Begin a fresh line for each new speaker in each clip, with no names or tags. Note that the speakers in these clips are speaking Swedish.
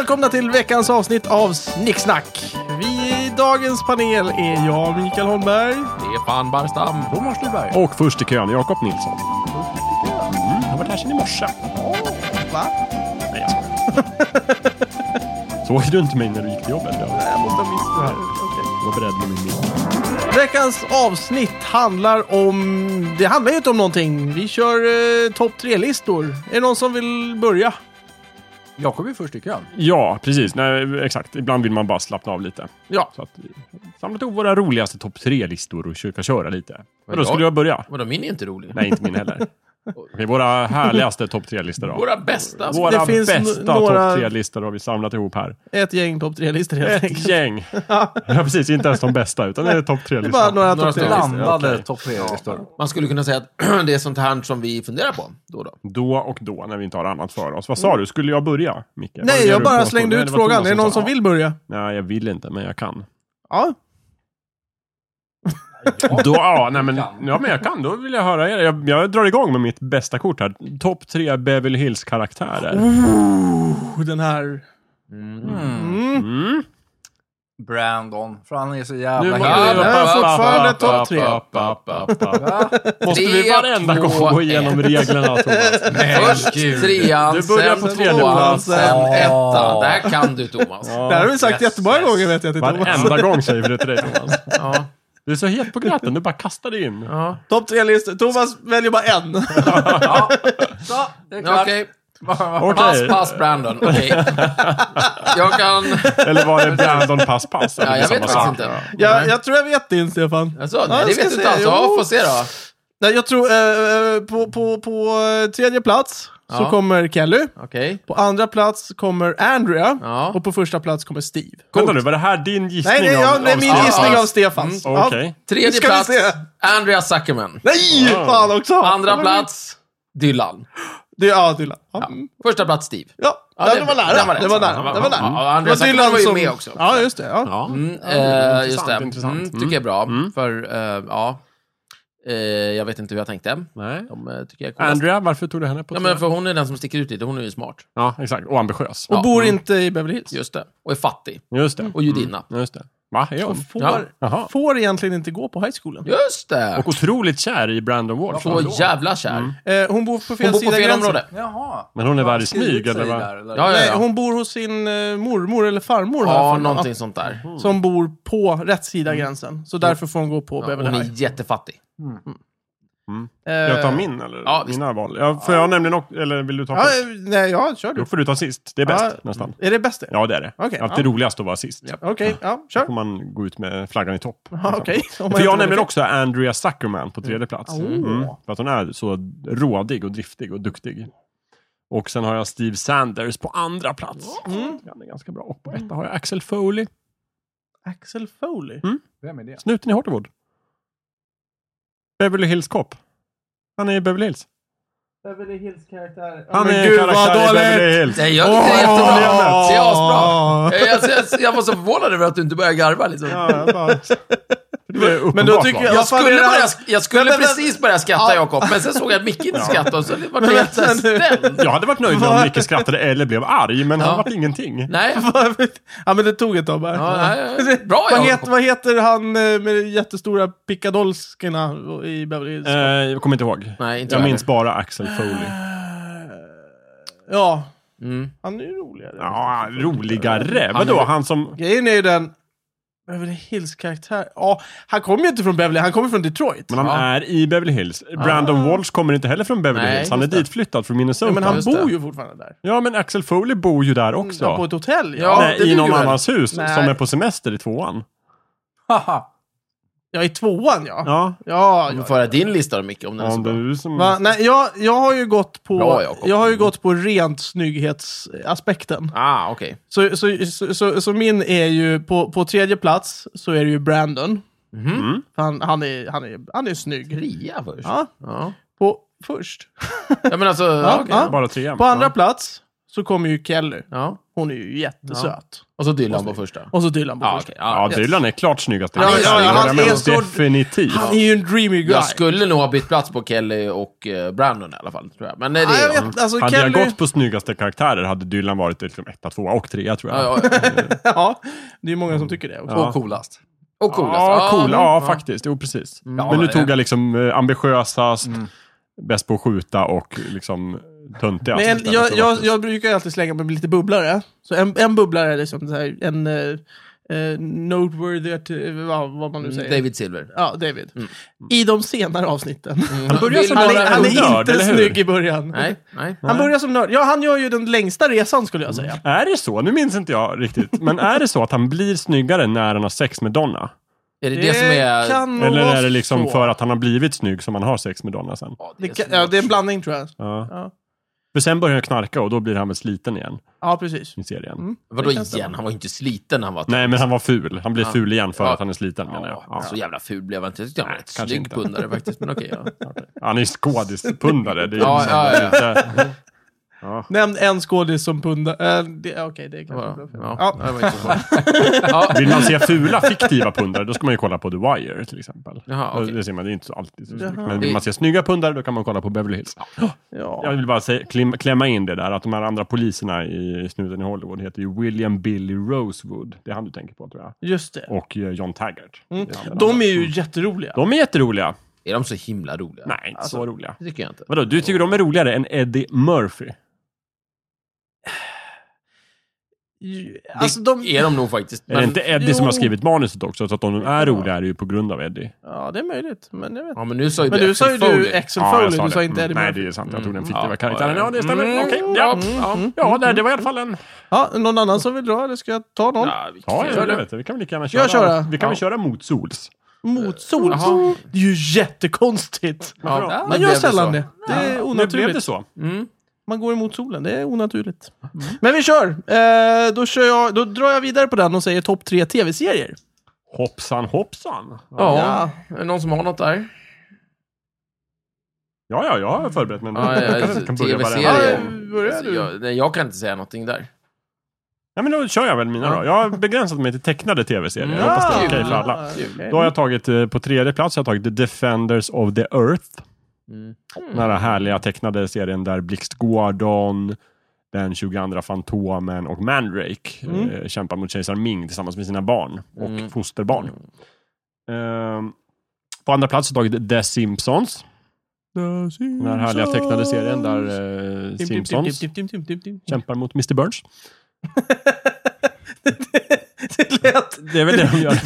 välkomna till veckans avsnitt av Snicksnack. Vi i dagens panel är jag, Mikael Holmberg.
Stefan Barstam.
Thomas Lyberg.
Och först i kön, Jakob Nilsson. Mm, Jag har varit här sedan i morse.
Va?
Nej, jag skojar. Såg du inte mig när du gick till jobbet? Jag
Jag måste ha missat det här. Okej.
var beredd med min bil.
Veckans avsnitt handlar om... Det handlar ju inte om någonting. Vi kör eh, topp tre-listor. Är det någon som vill börja?
Jakob är först i kön.
Ja, precis. Nej, exakt. Ibland vill man bara slappna av lite.
Ja.
Så att vi har samlat ihop våra roligaste topp tre-listor och försöka köra lite. Men då
jag?
skulle jag börja.
Vadå, min är inte rolig?
Nej, inte min heller. Okej, våra härligaste topp tre-listor då.
Våra bästa.
Våra
det finns
bästa
n- några-
topp tre-listor har vi samlat ihop här.
Ett gäng topp tre-listor helt
Ett
enkelt.
gäng. ja, precis. Inte ens de bästa, utan det är topp
Det är bara
tre-listan.
några,
Några
topp tre-listor.
Blandade topp tre-listor.
Man skulle kunna säga att det är sånt här som vi funderar på. Då och då.
Då och då, när vi inte har annat för oss. Vad sa du? Skulle jag börja, Micke? Vad är
Mm. Nej,
det
jag
du
bara
påstår?
slängde
Nej,
ut
det var
frågan.
Thomas
Är det någon
sa.
som vill börja?
Nej, jag vill inte, men jag kan.
Ja.
Då, ja, nej, men, ja, men jag kan. Då vill jag höra er. Jag, jag drar igång med mitt bästa kort här. Topp tre Beverly Hills-karaktärer.
Oh, den här...
Mm.
Brandon. För han är så
Nu
jävla
måste
hel-
vi-
Det är fortfarande
App, app,
topp tre.
app, app, app, app.
Va?
Måste vi
Tre,
varenda
två,
gång gå igenom reglerna, Thomas?
Först trean,
Du börjar
sen
på tredje
tvåan,
plats.
sen
Ja.
ettan. Det här kan du Thomas.
Ja.
Det här har vi sagt
Yes,
jättemånga
yes.
gånger vet jag till Thomas.
Varenda gång säger vi det till dig, Thomas.
Ja.
Du är så het på gröten, du bara kastar dig in.
Ja.
Topp tre-listor. Thomas väljer bara en.
Ja. Så, det är klart.
Okej. Pass,
Okej.
pass Brandon. Okej. Jag kan...
Eller var det Brandon pass pass? Eller
Ja, jag
samma
vet faktiskt
sak?
inte.
Jag, jag tror jag vet din, Stefan.
Alltså,
Ja,
nej,
jag
det
ska
vet du
se.
inte alls. Ja,
Jo.
får se då.
Nej, jag tror eh, på, på, på eh, tredje plats så
Ja.
kommer Kelly.
Okej.
På andra plats kommer Andrea.
Ja.
Och på första plats kommer Steve.
Vänta nu, var det här din gissning?
Nej, det är, ja,
om-
det är
om
min
Stefan?
gissning
ja.
av Stefans.
Okej.
Ja.
Tredje
Ska vi
plats,
se?
Andrea Zuckerman.
Nej!
Ah.
Fan också!
Andra plats, Dylan.
Det, ja, Dylan. Ja.
Första plats, Steve.
Ja,
Ja,
den,
det-
var nära.
den var rätt.
det var
Ja,
nära. Det var nära.
ja, Andrea
Mm. Det var
Zackari
Dylan
var ju
som-
med också.
Ja, just det. Ja.
Ja.
Mm,
Ja,
eh, just det.
intressant, intressant.
Mm, tycker jag är bra. För, eh, ja. Eh, jag vet inte hur jag tänkte.
Nej.
De eh, tycker jag är coolast.
Andrea, varför tog du henne på
Ja,
tre?
men för hon är den som sticker ut lite. Hon är ju smart.
Ja, exakt. Och ambitiös.
Och
Ja. Mm.
bor inte i Beverly Hills.
Just det. Och är fattig.
Just det.
Och judinna.
Mm, just det. Va? Är hon?
Och
Ja.
får,
Jaha.
får egentligen inte gå på high schoolen.
Just det!
Och otroligt kär i Brandon Ward.
Så jävla kär.
Eh, hon bor på fel
Hon bor på
sida
fel
gränsen.
område.
Jaha.
Men hon är
Har han
värre i
skrivit
smyg,
sig
eller vad?
där, eller?
Ja, ja,
Nej,
ja.
hon bor hos sin eh, mormor eller farmor. har jag
Ja,
för mig.
någonting sånt där.
Ja, Som bor på rätt sida
Mm.
gränsen. Så därför får hon gå på
Ja,
Beverly
hon är
Hills. Eh,
jättefattig.
Jag tar min, eller?
Eh, Ja, visst.
Mina val. Ja, får jag nämligen också, eller vill du ta
Ja,
först?
eh, nej, ja, kör du.
Då får du ta sist. Det är bäst,
Ja.
nästan.
Är det bäst det?
Ja, det är det.
Okej,
Alltid
ja.
roligast att vara sist.
Ja.
Okej, ja,
Får
kör.
man gå ut med flaggan i topp.
Ja, Okej. Om man
För jag
inte-
nämner också Andrea Zuckerman på tredje plats.
Åh.
Mm. För att hon är så rådig och driftig och duktig. Och sen har jag Steve Sanders på andra plats.
Mm.
Han är ganska bra. Och på etta har jag Axel Foley.
Axel Foley.
Vem är det?
Snuten i Hortwood. Beverly Hills Cop. Han är i Beverly Hills.
Beverly Hills-karaktär.
Han är en karaktär i Beverly Hills.
Nej, jag, det är jättebra.
Leonard.
Det är asbra. Eh, Jag, jag, jag, jag var så förvånad över att du inte började garva. Liksom.
Ja, jag bara... Det är
Men då tycker jag...
Jag skulle, börja, jag skulle
Men, men, men-
precis börja skratta,
Ja.
Jakob, men sen såg jag att Micke inte skrattade och så vart
Men,
jag
men,
jätteställd.
Jag hade varit nöjd om Micke skrattade eller blev arg, men
Ja.
han vart ingenting.
Nej.
ja, men det tog ett tag bara.
Ja, nej, bra
vad,
Jakob.
heter, vad heter han eh, med de jättestora pickadolskerna i Beverly Hills?
Eh, jag kommer inte ihåg.
Nej, inte Ah,
jag
jag
minns bara Axel Foley.
Ja,
Mm.
han är ju roligare.
Ja, roligare.
Han är-
Vadå, han som...
Grejen är ju den... Beverly Hills-karaktär. Ja, han kommer ju inte från Beverly, han kommer från Detroit.
Men han
Ja. Ah.
är i Beverly Hills. Brandon Walsh kommer inte heller från Beverly
Nej,
Hills. Han är
just det.
ditflyttad från Minnesota.
Ja, men han
just
bor
det.
ju fortfarande där.
Ja, men Axel Foley bor ju där också.
Ja, på ett hotell, ja.
Mm, Ja. det
Nej, I
duger
någon
väl.
annans hus
Nej.
som är på semester i tvåan.
Haha.
Ja, i tvåan, ja.
Ja,
Ja,
Du
ja.
får höra din lista då, Micke, om den är så
om det är
bra.
du som...
Va? Nej, jag, jag har ju gått på,
Bra, Jakob.
jag har ju gått på rent snygghetsaspekten.
Ah, okej.
Så, så, så, så, så min är ju, på, på tredje plats så är det ju Brandon.
Mhm.
Han, han, är, han, är, han är snygg.
Trea först.
Ja,
Ja.
på, först.
ja, men alltså... Ja, okej.
ja.
Bara trean.
På andra
Ja.
plats så kommer ju Kelly.
ja.
Hon är ju jättesöt.
Och så Dylan
Och
på
så-
första.
Och så Dylan på
Ja,
första.
okej.
Ja,
yes.
Dylan är klart snyggast i
Ja,
hela
ja,
serien,
han
håller jag med
är
om.
så-
Definitivt.
Han är ju en dreamy guy.
Jag skulle nog ha bytt plats på Kelly och eh, Brandon i alla fall, tror jag. Men nej, det
Ja,
är
jag vet, alltså,
Hade jag
Kelly...
gått på snyggaste karaktärer hade Dylan varit liksom etta, tvåa och trea tror jag.
Ja, ja,
ja, det är många som tycker det också.
Ja.
Och coolast.
Och coolast.
Ja, cool.
men-
ja, faktiskt. Jo, precis.
Mm.
Ja,
men nu
det-
tog jag liksom eh, ambitiösast, bäst på att skjuta och liksom töntigast.
Men en,
Alltså,
istället
jag,
för
jag,
vaktist.
jag brukar ju alltid slänga mig med lite bubblare. Så en, en bubblare är liksom så här, en eh, eh, noteworthy, att, eh, vad, vad man nu säger.
Mm, David Mm. Silver.
Ja, David. I de senare avsnitten.
Han
börjar som
Han
bara
är,
en
han är
nörd,
inte
eller hur?
snygg i början.
Nej, nej.
Han börjar som nörd. Ja, han gör ju den längsta resan skulle jag säga.
Är det så? Nu minns inte jag riktigt. Men är det så att han blir snyggare när han har sex med Donna?
Är det det, som är...
kan nog
Eller
vara
är det liksom
Mm. så.
för att han har blivit snygg som han har sex med Donna sen?
Ja,
Det,
det
kan,
är
ja,
svårt.
det är en blandning tror jag.
Ja.
Ja.
För sen börjar han knarka och då blir han väl sliten igen
Ja, precis.
i serien.
Mm.
Vadå
det kan stämma.
igen? Han var ju inte sliten när han var
Nej, men han var ful. Han blir
Ja.
ful igen för
Ja.
att han är sliten menar jag. Ja.
Så jävla ful blev han inte. Jag tyckte han var rätt
kanske
snygg
inte.
pundare faktiskt. Men okej, ja.
Han är ju skådispundare. Det är
Ja,
liksom
ja, ja.
inte... Ja.
Nämn en skådis som pundar. Eh, det- Okej, det
Det
kan
var-
vara
ja.
Ja.
det var inte så ja.
Vill man se fula fiktiva pundare, då ska man ju kolla på The Wire till exempel.
Jaha, okej.
Det ser man, det är inte så alltid så snyggt.
Jaha.
Men vill man se snygga pundare, då kan man kolla på Beverly Hills. Jag
Ja.
vill bara säga, klim, klämma in det där, att de här andra poliserna i snuten i Hollywood heter ju William Billy Rosewood. Det är han du tänker på tror jag.
Just det.
Och eh, John Taggart. Det är han.
Mm. De är ju jätteroliga.
de är jätteroliga.
Är de så himla roliga?
Nej, inte
Alltså-
så roliga.
Det tycker jag inte.
Vadå, du tycker de är roligare än Eddie Murphy?
Ju-
Det
Alltså de...
är de nog faktiskt.
är
Men,
det inte Eddie som
jo.
har skrivit manuset också? Så att de är
Ja.
roliga är det ju på grund av Eddie.
Ja, det är möjligt. Men jag vet inte.
ja, men nu sa ju
Men
du
du sa ju
Axel
du
Foley.
Axel Foley, du sa
det.
inte Eddie
mm, Nej,
Murphy.
det är sant. Jag tog den
Mm.
fiktiva
Ja. Ja,
karaktären.
ja.
Ja, det stämmer.
Mm.
Okej. Ja, ja. ja det, det var i alla fall en...
Ja, någon annan som vill dra, eller ska jag ta någon?
Ja, vi
Ja,
kan
ja,
göra
det
det.
vet jag. Vi kan väl lika gärna köra...
Jag köra.
Vi kan väl
Ja.
köra mot sols.
Mot sol.
Jaha.
Det är ju jättekonstigt.
Varför
Ja,
då?
Man
men
gör
blev det
sällan
så?
det. Det är
Nu blev
onaturligt.
det så.
Mm.
Man går emot solen, det är onaturligt.
Mm.
Men vi kör! Eh, då, kör jag, då drar jag vidare på den och säger topp tre tv-serier.
Hoppsan hoppsan.
Ja, är det någon som har något där?
Ja, ja, jag har förberett men...
Ja,
jag
ja,
kanske inte kan börja
TV-serier.
varenda gång.
börjar
Alltså,
du?
jag, nej, jag kan inte säga någonting där.
Ja, men då kör jag väl mina
Ja. Mm.
då. Jag har begränsat mig till tecknade tv-serier. Jag
Ja.
hoppas
Ah!
det är okej
Kul.
för alla.
Okej.
Då har jag tagit, eh, på tredje plats, jag har tagit The Defenders of the Earth.
Mm.
Den här härliga tecknade serien där Blixt Gordon, den 22 Fantomen och Mandrake
Mm.
eh, kämpar mot kejsar Ming tillsammans med sina barn och
Mm.
fosterbarn. Ehm, på andra plats har jag tagit The Simpsons. Den här härliga tecknade serien där eh,
Tim, tim, tim,
Simpsons
tim, tim, tim, tim, tim.
kämpar mot Mr Burns.
Det lät...
Det är väl det de gör.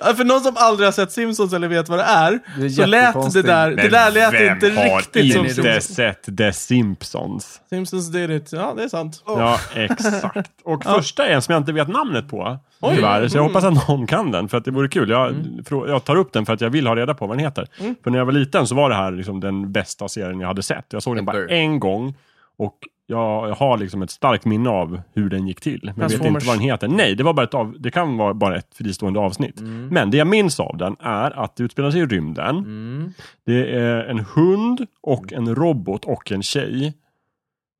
Ja, För någon som aldrig har sett Simpsons eller vet vad det är,
Det är
så lät det
jättekonstigt.
där... Det där lät inte riktigt som
som inte
Simpsons.
sett The Simpsons?
Simpsons did it. Ja, det är sant.
Ja, exakt. Och första är en som jag inte vet namnet på. Tyvärr, så jag hoppas att någon kan den. För att det vore kul. Jag, frå- jag tar upp den för att jag vill ha reda på vad den heter. För när jag var liten så var det här liksom den bästa serien jag hade sett. Jag såg den
Ever.
bara en gång. Och jag jag har liksom ett starkt minne av hur den gick till. Men jag vet inte
Transformers.
vad den heter. Nej, det, var bara ett av, det kan vara bara ett fristående avsnitt. Men det jag minns av den är att det utspelar sig i rymden.
Mm.
Det är en hund och en robot och en tjej.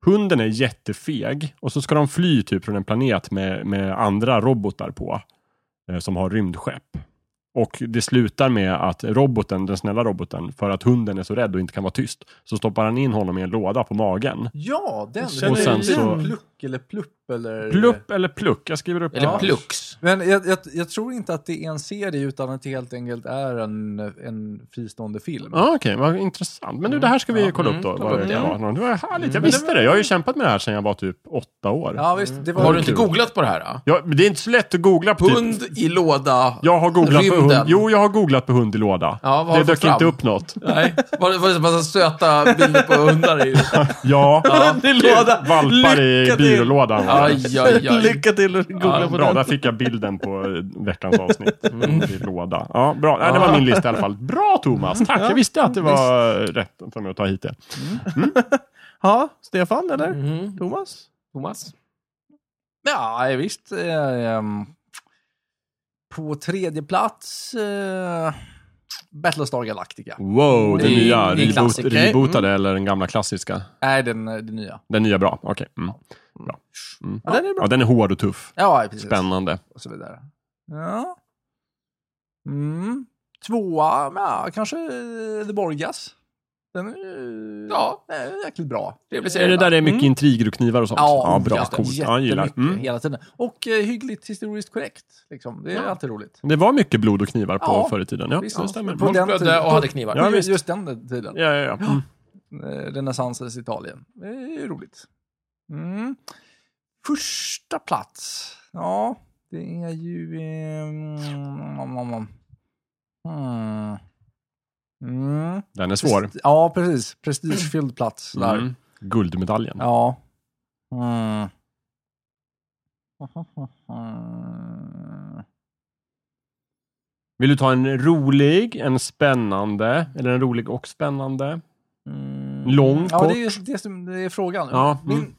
Hunden är jättefeg och så ska de fly typ från en planet med, med andra robotar på. Eh, som har rymdskepp. Och det slutar med att roboten, den snälla roboten, för att hunden är så rädd och inte kan vara tyst, så stoppar han in honom i en låda på magen.
Ja, den.
känner
Och sen
igen.
så... Pluck eller plupp eller...
Plupp eller pluck? Jag skriver upp
Eller
det.
Plux.
Men jag, jag, jag tror inte att det är en serie utan att det helt enkelt är en, en fristående film.
Ja, okej, vad intressant. Men du, det här ska vi
Ja,
kolla
mm,
upp då.
kolla
Vad
upp
det
det. Mm.
var. Det var härligt, jag visste det. Jag har ju kämpat med det här sedan jag var typ åtta år.
Ja, visst. Det var
Har du inte
kul.
googlat på det här? Då?
Ja, men det är inte så lätt att googla på typ
Hund i låda.
Jag har googlat på
Rymden.
hund. Jo, jag har googlat på hund i låda.
Ja, vad har
det
du fått
dök inte
fram?
upp något.
Nej. Var det, var det en massa söta bilder på hundar i?
Ja,
Det låda.
valpar i
Lycka till.
byrålådan. var det.
Aj, aj, aj.
Lycka till att googla
Ja,
på
bra,
den.
där fick jag bilden på eh, veckans avsnitt. Hund
Mm.
i låda. Ja, bra. Nej, det var min lista i alla fall. Bra Thomas, tack. Jag visste att det var rätt för mig att ta hit det.
Ja, Stefan eller?
Mhm.
Thomas?
Thomas?
Ja, visst. Eh, ehm, på tredje plats, eh, Battlestar Galactica.
Wow, den
Det är-
nya
det är en
reboot,
klassiker.
rebootade eller den gamla klassiska?
Nej, den, eh, den nya.
Den nya bra, okej. Mm. Bra. Mm.
Ja, den är bra.
Ja, den är hård och tuff.
Ja, precis.
Spännande.
och så vidare. Ja. Mm. Tvåa, ja, kanske eh, The Borgas. Den är ju
Ja.
den är jäkligt bra.
Trevlig
Är
serie.
det
va?
där det är mycket intriger och knivar och sånt? bra.
ja,
Coolt. Mm. Ja, jag gillar.
jättemycket
Mm.
hela tiden. Och eh, hyggligt historiskt korrekt. Liksom. Det är alltid roligt.
Mm. Det var mycket blod och knivar på
Ja,
förr i tiden. Ja,
visst.
det stämmer.
På
Ja,
den
blödde
tiden-
och hade knivar.
Ja,
Ja,
just,
visst.
just den tiden.
ja, ja. Mm.
eh, renässansens Italien. Det är ju roligt. Mm. Första plats. Ja, det är ju... ehm, om, om, om. Mm. Mm.
Den är svår.
Presti- Ja, precis. Prestigefylld plats där.
Mm. Guldmedaljen.
Ja. Mm. Mm.
Vill du ta en rolig, en spännande, eller en rolig och spännande? Lång,
Mm. ja,
kort?
det är ju det som det är frågan.
Ja,
Min
mm.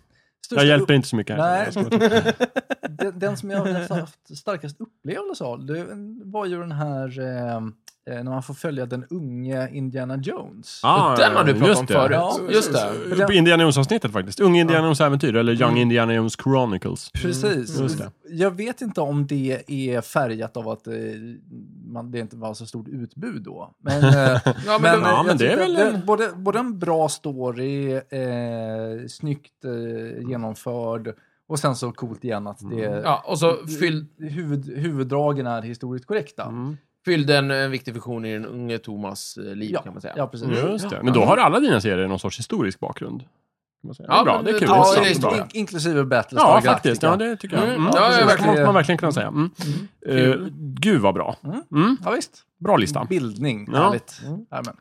största
Jag hjälper inte så mycket här.
Nej. den, den som jag har haft starkast upplevelse av det var ju den här eh, eh, när man får följa den unge Indiana Jones.
Ah,
Den har du pratat
just
om
det.
förut.
Ja,
just det.
Den-
På Indiana Jones-avsnittet faktiskt. Unga Indiana Jones-äventyr, eller Young Indiana Jones Chronicles.
Precis.
Mm,
just det.
Jag vet inte om det är färgat av att eh, man, det inte var så stort utbud då. Men, eh,
Ja, men,
men,
det-
eh,
men
jag
det är
tyckte
väl
att
en-
det, både, både en bra story, eh, snyggt eh, genomförd och sen så coolt igen att det...
Mm. ja, och så fyll,
Huvud, huvuddragen är historiskt korrekta.
Mm.
fyllde en, en viktig funktion i den unge Thomas eh, liv,
Ja,
kan man säga.
ja, precis.
Mm.
Just det. Men då har alla dina serier någon sorts historisk bakgrund. kan man säga.
Ja,
bra,
men
det är
det-
kul.
ja,
Ja,
det är
bra.
historia.
In- inklusive Battlestar
ja
Galactica.
faktiskt. Ja, det tycker jag.
Mm,
Mm.
ja, ja,
det
verkligen.
kan man verkligen kunna säga. Mm. Eh,
Kul.
gud vad bra. Mm.
Ja, visst.
Bra lista.
Bildning.
Ja.
Härligt. Jajamän.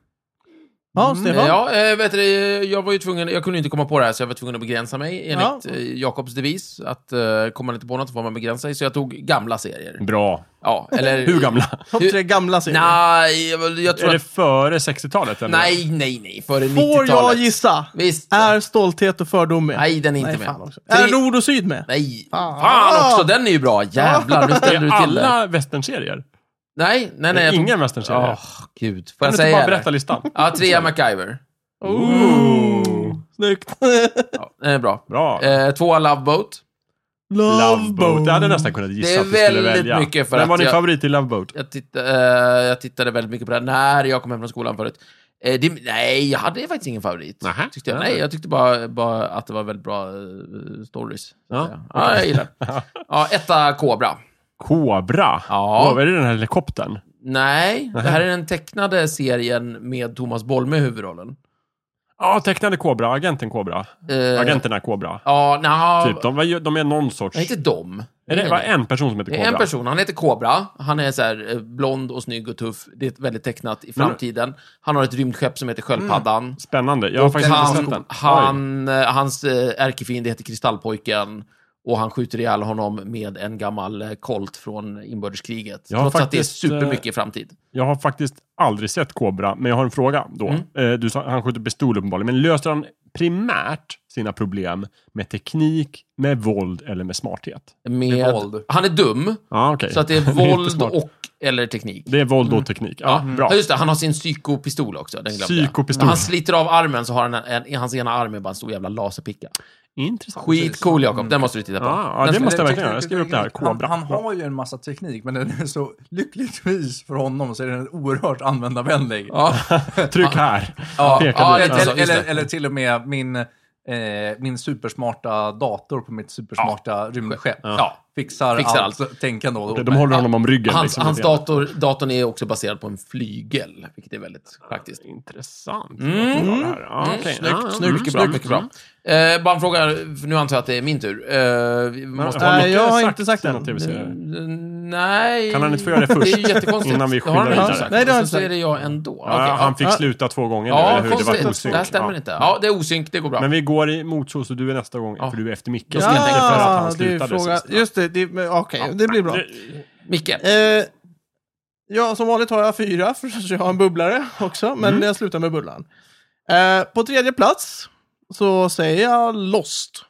Ja, Stefan.
Ja, eh, vet du, eh, jag var ju tvungen, jag kunde inte komma på det här så jag var tvungen att begränsa mig enligt
Ja.
ja. Jakobs devis. Att eh, kommer man inte på något får man begränsa sig, så jag tog gamla serier.
Bra.
Ja, eller...
Hur gamla?
Topp tre gamla serier.
Nej, jag, jag tror
Är det
att...
före 60-talet? eller?
Nej, nej, nej. Före 90-talet.
Får jag gissa?
Visst.
Är stolthet och fördom med?
Nej, den är inte
Nej,
med.
fan också.
Tre-
Är nord och syd med?
Nej,
Fan.
fan också. Den är ju bra. Jävlar, nu ställer du
Är
till det.
alla westernserier?
Nej, nej, nej.
Nej,
jag tog-
Ingen westernserier?
Åh,
Kan
gud. Får jag
du inte bara
säga det?
berätta listan?
Ja, trea MacGyver.
Ooh.
Oh. Snyggt.
Ja, den är bra.
Bra.
Eh, tvåa Love Boat.
Love Boat. Jag hade nästan kunnat
Det
gissa
är
att du skulle
väldigt
välja.
mycket för
Vem
att
var din
jag-
favorit i Love Boat?
Jag, titt, eh, jag tittade väldigt mycket på den när jag kom hem från skolan förut. Eh, det, nej, jag hade faktiskt ingen favorit.
Nähä.
Tyckte jag.
Nej.
Nej, jag tyckte bara, bara att det var väldigt bra eh, stories.
Ja,
Så, ja jag gillar det. ja, Etta Cobra.
Kobra.
Ja.
Åh, är det den här helikoptern?
Nej, det här är den tecknade serien med Thomas Bolme i huvudrollen.
Ja, tecknade Kobra. Agenten Kobra.
Eh,
Agenterna Kobra.
Ja, nja...
Typ, de, var- de är någon sorts...
Nej, inte dem.
Är det var en person som heter
Det
Kobra?
är en person, han heter Kobra. Han är så här, eh, blond och snygg och tuff. Det är ett väldigt tecknat
Mm.
i framtiden. Han har ett rymdskepp som heter Sköldpaddan.
Spännande. Jag har faktiskt inte sett den.
Han, han,
Oj.
eh, hans eh, ärkefiende heter Kristallpojken. Och han skjuter ihjäl honom med en gammal eh, kolt från inbördeskriget.
Jag har
Trots att det är
faktiskt, eh,
supermycket i framtid.
Jag har faktiskt aldrig sett Kobra, men jag har en fråga då.
Mm.
Eh, Du sa, han skjuter pistol uppenbarligen, men löser han primärt sina problem med teknik, med våld eller med smarthet?
Med,
Med våld.
Han är dum,
Ja, okej.
så att det är
inte
våld
smart.
och eller teknik. Mm.
Det är våld och teknik. Ja, bra.
Ja, just det. Han har sin psykopistol också. Den glömde jag.
Psykopistol.
När han sliter av armen så har han en, en, hans ena arm är bara en stor jävla laserpicka.
Intressant.
Skitcool, Jakob. Den måste du titta på.
Mm. Ja, ja,
Den
det
ska-
måste jag
Eller
verkligen göra. Jag skriver upp det här.
Han,
Kobra.
han har ju en massa teknik, men den är så lyckligtvis för honom så är den oerhört användarvänlig.
Ja.
Tryck här.
Ja,
Pekar
ja,
dit.
det är så,
eller,
just
eller,
det.
eller till och med min, eh, min supersmarta dator på mitt supersmarta rymdskepp. Ja. Fixar,
Fixar
allt, tänkande och
De håller honom om ryggen.
Hans,
liksom,
hans
lite grann.
dator, datorn är också baserad på en flygel, vilket är väldigt praktiskt.
Intressant.
Mm.
Vad bra det här. Ja, okej.
Snyggt,
Ja, ja.
snyggt,
Mm,
mycket
bra.
bra. Mycket bra. Eh, bara en fråga, för nu antar jag att det är min tur. Eh, vi måste
Nej,
ha
Lotte
jag har inte sagt
sina
än.
TV-serier?
Nej.
Kan han inte få göra det först?
Det är ju jättekonstigt.
Innan vi
Det har han
skyndar
inte
vidare.
sagt.
Nej, det har
Och så
jag inte
är det jag ändå. Okej,
Ja, han fick
Ja.
sluta två gånger nu,
Ja,
eller hur? Det var
konstigt.
osynk.
Det här stämmer
Ja.
inte. Ja, det är osynk. Det går bra.
Men vi går i motsås så du är nästa gång, för du är efter Micke.
Då ska jag tänka
för att
Ja,
han
det är ju
slutade
fråga.
sist.
Just det, det men okej, det blir bra.
Det-
Micke.
Eh, ja, som vanligt har jag fyra, för jag har en bubblare också, men
Mm.
jag slutar med bubblan. Eh, på tredje plats så säger jag Lost.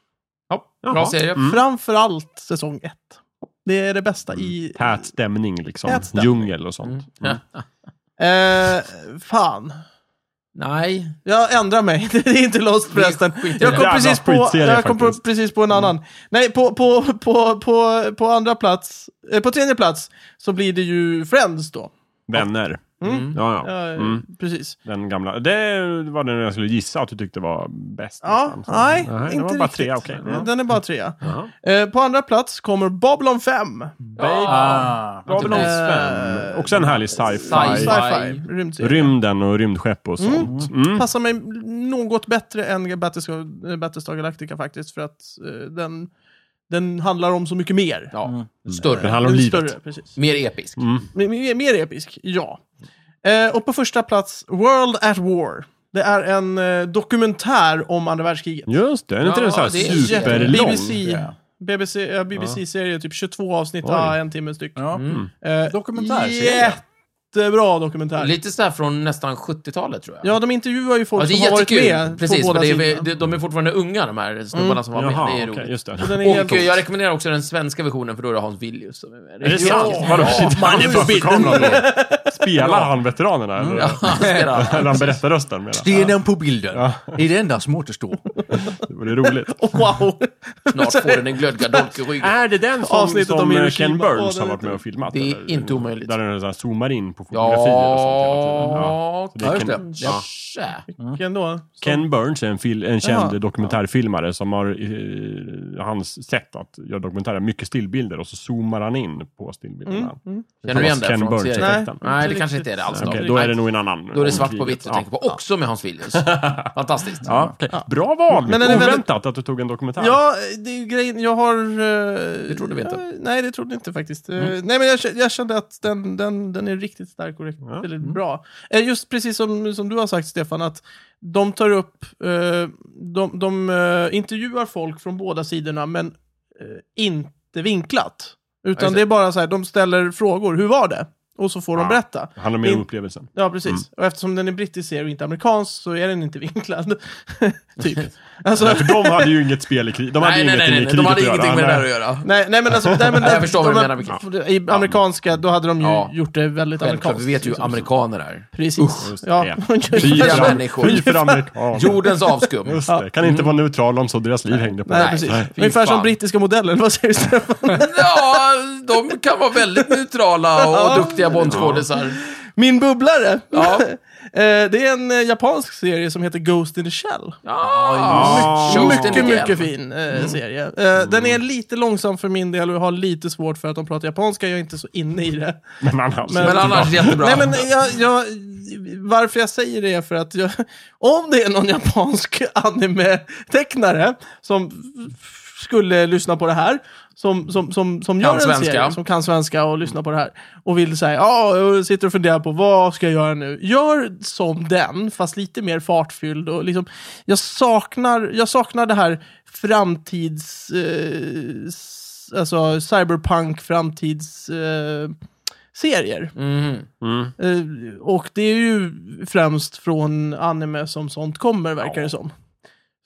Ja, bra
Jaha. Mm.
serie.
Framförallt säsong ett. Det är det bästa i...
Tät stämning, liksom.
Mm.
Tät stämning.
Djungel och sånt.
Ja.
Eh, fan.
Nej.
Jag ändrar mig. Det är inte Lost
Det är
förresten.
skit-
Jag kom,
Jävla
precis på,
skitserie
jag kom på,
faktiskt. Mm.
precis på en annan. Nej, på, på, på, på, på andra plats, eh, på tredje plats, så blir det ju Friends då.
Vänner.
Mm.
Ja, ja.
Ja, eh,
Mm.
Precis.
Den gamla. Det var den jag skulle gissa att du tyckte var bäst.
Ja,
nästan. Så-
nej,
det
inte
var bara
riktigt. Mm.
tre, okej. Ja.
Den är bara trea.
Ja.
Eh, på andra plats kommer Babylon 5.
Ah.
Babylon
Eh,
5. Också en härlig sci-fi.
Sci-fi.
Sci-fi, rymdserie.
Rymden och rymdskepp och sånt. Mm.
Passar mig något bättre än Battlestar, eh, Battlestar Galactica faktiskt, för att eh, den, den handlar om så mycket mer.
Ja.
Mm.
Det
Större.
handlar om
Den är
livet.
Större, precis.
Mer episk.
Mm.
Mer, mer, mer episk, ja. Eh, och på första plats, World at War. Det är en eh, dokumentär om andra världskriget.
Just det, är inte
Ja,
den så här
det är jätte-
superlång?
BBC,
Ja.
BBC, ja, BBC-serie, typ 22 avsnitt,
Oj.
ja, en timme styck.
Ja.
Mm.
Eh,
Dokumentärserie.
Jättebra dokumentär.
Lite så här från nästan 70-talet tror jag.
Ja, de intervjuar ju folk
Ja, det
som har
är
varit
jättekul.
med
Precis,
på
för
båda
det är,
sidorna.
de- de är fortfarande unga de här snubbarna som var med.
Mm. Jaha,
det är
okej,
roligt.
just det.
Och den är helt
Och eh, jag rekommenderar också den svenska versionen för då är det Hans Villius som är med.
Är det sant?
Ja.
Vadå,
Ja.
shit, han är på bilden. Spelar han veteranerna? Eller,
Han spelar.
eller han berättar rösten menar jag.
Stenen på bilden är det enda som återstår.
Det vore roligt.
Wow!
Snart får den en glödgardolk i ryggen.
Är det den som,
Avsnittet
som
om
eh,
Hiroshima.
Ken
Ja,
Burns
den är
har varit
inte-
med och filmat?
Det är
eller?
inte omöjligt.
Där den så här zoomar in på fotografier och sånt
Ja,
hela tiden. Ja. Det är
Ja, just
Ken,
det.
ja.
kanske.
Vilken då? Så-
Ken Burns är en, fil, en känd
Jaha.
dokumentärfilmare som har eh, hans sätt att göra dokumentärer, mycket stillbilder och så zoomar han in på stillbilderna.
Känner du igen
Thomas
det
Ken
från
Burns
serien?
effekten.
Nej.
Nej, det
Inte
kanske
riktigt.
inte är det alls.
Okej,
då.
då
Nej,
är det nog en annan.
då är det
om
svart på
kriget.
vitt du
Ja.
tänker på. Också med Hans Villius. Fantastiskt.
Ja, okej. Bra val!
Men
Men
den är väldigt-
Oväntat att du tog en dokumentär.
Ja, det är ju grejen. Jag har... det
trodde vi inte. Mm.
nej, det trodde jag inte faktiskt. Eh, nej, men jag, kä- jag kände att den, den, den är riktigt stark och riktigt
Ja.
väldigt
mm.
bra. Eh, just precis som, som du har sagt, Stefan, att de tar upp... eh, de de eh, intervjuar folk från båda sidorna, men eh, inte vinklat.
Ja,
Utan
just
det är bara så här, de ställer frågor. Hur var det? Och så får de
Ja.
berätta.
Det handlar mer om
In-
upplevelsen.
Ja, precis.
Mm.
Och eftersom den är brittisk serie och inte amerikansk så är den inte vinklad. typ. Alltså,
Nej, för de hade ju inget spel i krig. De hade
Nej,
ju
nej,
inget
nej,
i
nej.
kriget
De hade
att göra.
ingenting med det
Nej.
där att göra.
nej, nej, men alltså... Nej, men,
Jag förstår vad du
de-
menar, Mikael.
för det- I amerikanska, då hade de ju
Ja.
gjort det väldigt
Självklart,
amerikanskt.
vi vet ju hur
liksom.
amerikaner är.
Precis.
Just det.
ja.
Fy
Fria
för,
människor.
fy för amerikaner.
Jordens avskum.
Just det. Kan inte vara neutral om så deras liv hängde på
Nej,
det.
precis.
Mm. Nej.
fy
Ungefär som
fan.
brittiska modellen, vad säger du Stefan?
Ja, de kan vara väldigt neutrala och duktiga Bondskådisar.
Min bubblare!
Ja.
Eh, det är en eh, japansk serie som heter Ghost in the Shell.
Ja,
Ghost
Shows
mycket,
den igen.
mycket fin eh,
Mm.
serie. Eh, Den är lite långsam för min del och jag har lite svårt för att de pratar japanska, jag är inte så inne i det.
Men annars.
Men-
Men annars jättebra.
Nej, men jag, jag, varför jag säger det är för att jag, om det är någon japansk anime-tecknare som f- skulle lyssna på det här, som, som, som, som gör
Kan
en
svenska.
serie, som kan svenska och lyssnar på det här, och vill säga, ja, jag sitter och funderar på vad ska jag göra nu? Gör som den, fast lite mer fartfylld och liksom, jag saknar, jag saknar det här framtids, eh, s- alltså cyberpunk framtids, eh, serier.
Mhm.
Mm.
Eh, och det är ju främst från anime som sånt kommer, verkar det som.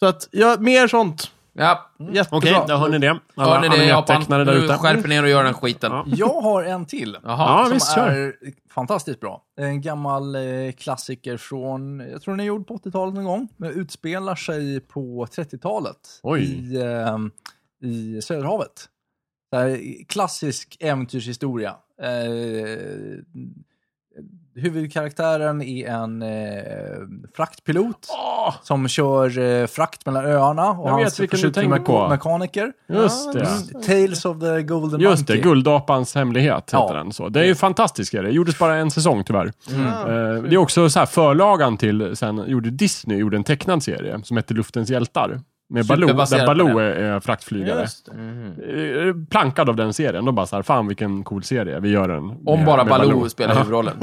Så att, ja, mer sånt.
Ja,
Jättebra.
Okej, där hör ni Mm. det. Alla
hör ni det Japan?
animetecknare där
Nu
ute.
skärper ner och gör den skiten.
Ja.
Jag har en till.
Jaha.
Ja,
som
visst, kör.
är fantastiskt bra. En gammal eh, klassiker från, jag tror den är gjord på 80-talet någon gång, men utspelar sig på 30-talet
Oj.
i, eh, i Söderhavet. Det här är klassisk äventyrshistoria. Eh, huvudkaraktären är en eh, fraktpilot
Åh,
som kör eh, frakt mellan öarna och
Jag vet
hans
vilken du
förtjutna
tänker på.
mekaniker. Mm.
Just det.
Tales of the Golden
Just det,
Monkey.
Guldapans hemlighet heter
Ja.
den. Så. Det är ju fantastiskt. är Det Det gjordes bara en säsong tyvärr.
Ja.
Eh, det är också så här, förlagan till, sen gjorde Disney gjorde en tecknad serie som hette Luftens hjältar. Med Baloo, där
Superbaserad på den.
Baloo är, är fraktflygare.
Just det.
Eh, Plankad av den serien. De bara så här, fan vilken cool serie, vi gör den. med-
Om bara
med
Baloo spelar huvudrollen.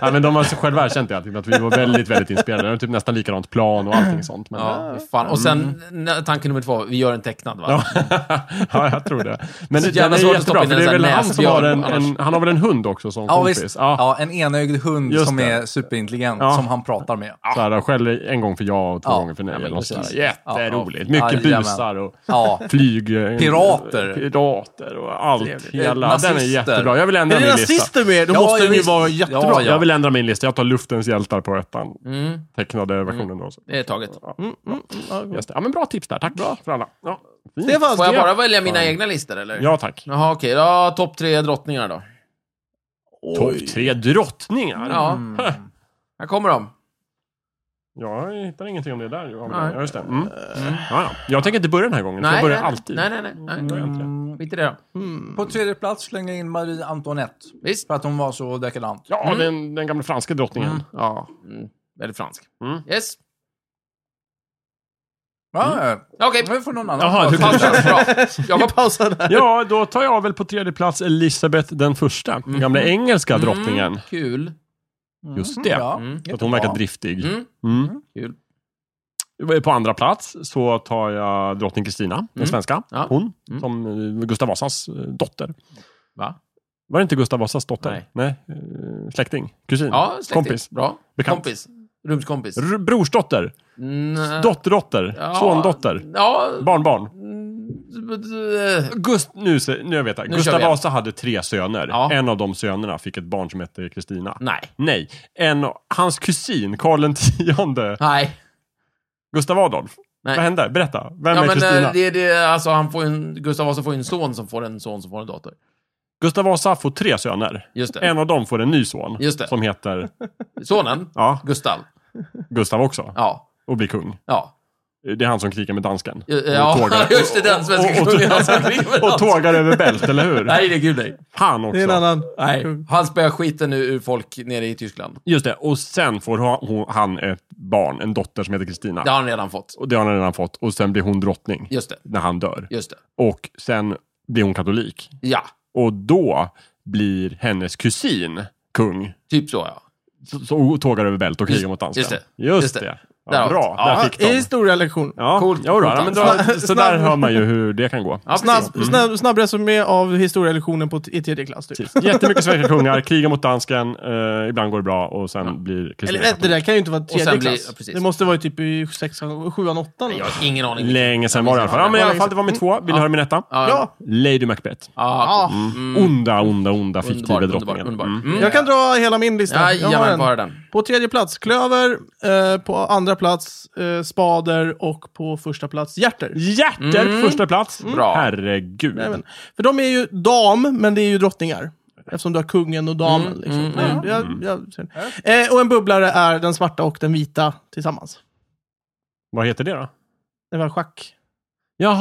ja, men de har själva erkänt det, alltid, att vi var väldigt, väldigt inspirerade. Det var typ nästan likadant plan och allting sånt. Men, ja. Mm.
Ja, fan. Och sen nä- tanke nummer två, vi gör en tecknad va?
jag tror det. Men
Så
det, den
jävla
är
svårt att
jättebra,
stoppa in
för
en
det
sån
är väl
här
han som har en,
näsbjörn annars.
en, han har väl en hund också som
Ja,
kompis?
visst.
Ja.
Ja, en enögd hund
Just
som
det.
är superintelligent
Ja.
som han pratar med.
Så här, skäll en gång för ja och två
Ja.
gånger för nej.
Ja, men
eller något sånt
precis.
där. Jätteroligt. trevligt. Mycket
Jajamän.
busar och
Ja.
flyg...
Pirater.
Pirater och allt.
Trevligt.
Hela. Den är
Nazister.
jättebra. Jag vill ändra
Är det
min lista.
nazister med? Då
Ja,
måste
ja,
den ju
visst.
vara jättebra.
Ja, ja.
Jag vill ändra min lista. Jag tar Luftens hjältar på ettan.
Mm,
Tecknade versionen då.
det är taget.
Mm, mm, mm, ja,
Just det. Ja, men bra tips där. Tack bra för alla. Ja, fint.
Stefan,
Får
ska
jag
jag...
bara välja mina egna listor eller?
ja Mm. tack.
Jaha, okej. Ja, topp tre drottningar då.
Topp
Oj.
tre drottningar.
Ja.
Mm.
Här kommer de.
Jag hittar ingenting om det där. Ja,
Nej.
just det. Mm. Ja, ja. Jag tänker inte börja den här gången. för
Nej,
jag börjar
nej,
alltid.
Nej, nej, nej. nej.
Mm.
Skit i det då.
Mm.
På tredje plats slänger jag in Marie Antoinette.
Visst.
För att hon var så dekadent.
Ja,
Mm.
den, den gamla franska drottningen.
Mm.
Ja.
Mm. Väldigt fransk.
Mm.
Yes.
Ja, eh,
Okej.
Nu får någon annan
Mm. Jaha,
prata.
du-
Paus där. Bra. Jakob.
Vi pausar där.
ja, då tar jag väl på tredje plats Elisabeth den första. Den gamla engelska
Mm.
drottningen.
Kul.
Mm,
Just det.
Ja,
Mm.
Så att hon verkar
jättebra.
driftig.
Mm.
Mm.
Kul.
På andra plats så tar jag drottning Kristina, den
Mm.
svenska.
Ja.
Hon,
Mm.
som eh, Gustav Vasas eh, dotter.
Va?
Var det inte Gustav Vasas dotter?
Nej.
Eh, Släkting? Kusin?
Ja, släkting.
Kompis?
Bra.
Bekant.
Kompis. Rumskompis.
R- brorsdotter?
Mm.
Dotterdotter?
Ja.
Sondotter?
Ja.
Barnbarn?
Mm.
Gust nu, se- nu vet jag.
Nu
Gustav
kör vi.
Vasa hade tre söner.
Ja.
En av de sönerna fick ett barn som hette Kristina.
Nej.
Nej, en, hans kusin, Karl X,
Nej.
Gustav Adolf.
Nej.
Vad hände? Berätta. Vem
Ja,
är
men
Kristina?
eh, det, det, alltså, han får ju en, Gustav Vasa får ju en son som får en son som får en dotter.
Gustav Vasa får tre söner.
Just det.
En av dem får en ny son.
Just det.
Som heter
Sonen,
ja,
Gustav.
Gustav också.
Ja.
Och blir kung.
Ja.
Det är han som krigar med dansken. Och
ja.
tågar-
Just det, den
och-
svenska
och-
kungen. Alltså, driver
Och
allt.
tågar över bält, eller hur?
Nej, det är gud nej.
Han också.
Det är en annan. Mm.
Nej.
Mm.
Kung.
Han spöar skiten ur, ur folk nere i Tyskland.
Just det, och sen får ha- hon- han ett barn, en dotter som heter Kristina.
Det har han redan fått.
Och det har han redan fått. Och sen blir hon drottning
Just det.
när han dör.
Just det.
Och sen blir hon katolik.
Ja.
Och då blir hennes kusin kung.
Typ så, ja.
Så- Så och tågar över bält och krigar
Just-
mot dansken.
just det.
Just,
Just
det.
det.
Ja,
Där
bra,
har vi-
där
Ja,
fick
I
de.
historielektion.
Ja,
Coolt.
jo då, ja, men då,
Snabb-
så där
snabb-
hör man ju hur det kan gå.
ja precis. Mm.
Snabb, snabb, snabb resumé av historielektionen på t- i tredje klass. Typ.
Precis. Jättemycket svenska kungar, krigar mot dansken, eh, ibland går det bra och sen blir Kristina
Eller äh, det
katolik.
där kan ju inte vara tredje
sen blir- ja,
klass.
precis.
det måste vara typ i sexan, sjuan, åttan.
Jag har ingen aning.
Länge sen var det i alla fall. Ja, men i alla fall, det var min tvåa. Vill ni höra min etta?
Ja.
Ja,
Lady Macbeth.
ja.
ja.
Mm.
Onda, onda, onda Ah. fiktiva
Underbar, underbar,
drottningen.
underbar.
Mm.
Mm.
Jag kan dra hela min lista. Jag har
Jajamän,
en.
bara den.
På tredje plats Klöver, eh, på andra plats eh, Spader och på första plats Hjärter.
Hjärter,
Mm.
första plats.
Bra.
Herregud.
Jajamän. För de är ju dam, men det är ju drottningar. Eftersom du har kungen och damen.
Mm,
liksom.
mm,
Det är- jag, jag, eh, och en bubblare är den svarta och den vita tillsammans.
Vad heter det då?
Det var schack.
Jaha,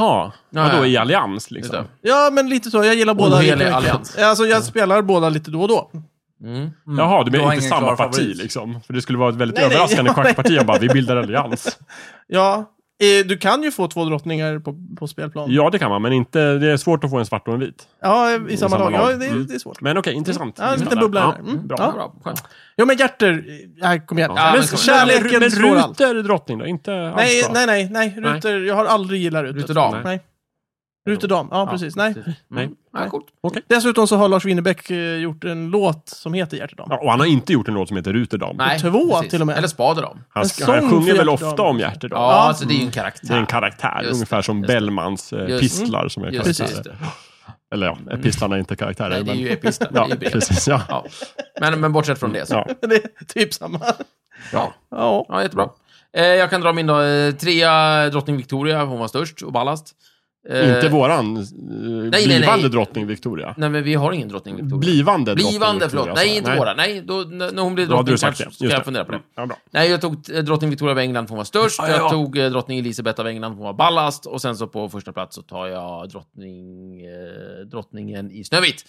Ja,
vadå
ja.
i allians
Just
liksom?
det.
Ja, men lite så. Jag gillar båda.
Ohelig
lika mycket.
allians.
Alltså, jag spelar båda lite då och då.
Mm.
Mm.
Jaha, du
Du har
menar inte
ingen
samma
klar
parti
favorit.
liksom? För det skulle vara ett väldigt
Nej, nej,
överraskande
ja,
schackparti om bara vi bildar allians.
Ja, eh, du kan ju få två drottningar på, på spelplan. Ja,
Ja, det kan man, men inte, det är svårt att få en svart och en vit.
i samma lag. Ja, det, är- det är svårt.
Men okej, intressant.
Ja, en liten
Spännande.
bubbla
Ja,
där. Mm.
Bra.
Ja.
Bra, skönt.
Ja, men hjärter. eh, Här, kom igen.
Ja,
Ja,
men,
men
men,
kom.
kärleken
men
slår allt.
Ruter drottning då? Inte alls
Nej,
bra.
nej, nej, nej. Ruter, jag har aldrig gillat Ruter.
Ruterdam.
Nej. Ruterdam, ja,
Ja,
precis. Nej.
Nej.
Mm. Ja, coolt.
Dessutom så har Lars Winnerbäck eh, gjort en låt som heter Hjärtedam.
Ja, och han har inte gjort en låt som heter Ruterdam.
Nej,
två
precis.
till och med.
Eller spader de.
Han,
En
sk- han
sång
sjunger
för
väl
Hjärtedam.
ofta om
Ja,
Hjärtedam?
alltså det är ju en karaktär.
Det är en karaktär,
Just det,
ungefär som
just det.
Bellmans eh,
Just-
pistlar som är
Just det,
karaktärer.
just det. Mm.
Eller ja, pistlarna är inte karaktärer.
Nej, det är
men...
ju epister.
Ja,
Det är ju brev.
precis. Ja.
Ja. Men, men bortsett från det så.
Ja.
Det är typ samma.
Ja.
Ja.
Ja, jättebra. Eh, jag kan dra min då. Eh, trea, drottning Victoria. Hon var störst och ballast. Eh,
Inte våran eh,
nej,
blivande
nej.
drottning Victoria.
Nej, men vi har ingen drottning Victoria.
Blivande drottning
Blivande,
Victoria,
förlåt.
sa jag.
Nej, inte våra. Nej, då, n- när hon blev
Då hade
drottning
du sagt
kanske
det. Mm.
ska
Just
jag fundera på det.
Ja, bra.
Nej, jag tog eh, drottning Victoria av England för hon var störst.
Ja, ja.
Jag tog eh, drottning Elisabeth av England för hon var ballast. Och sen så på första plats så tar jag drottning, eh, drottningen i Snövit.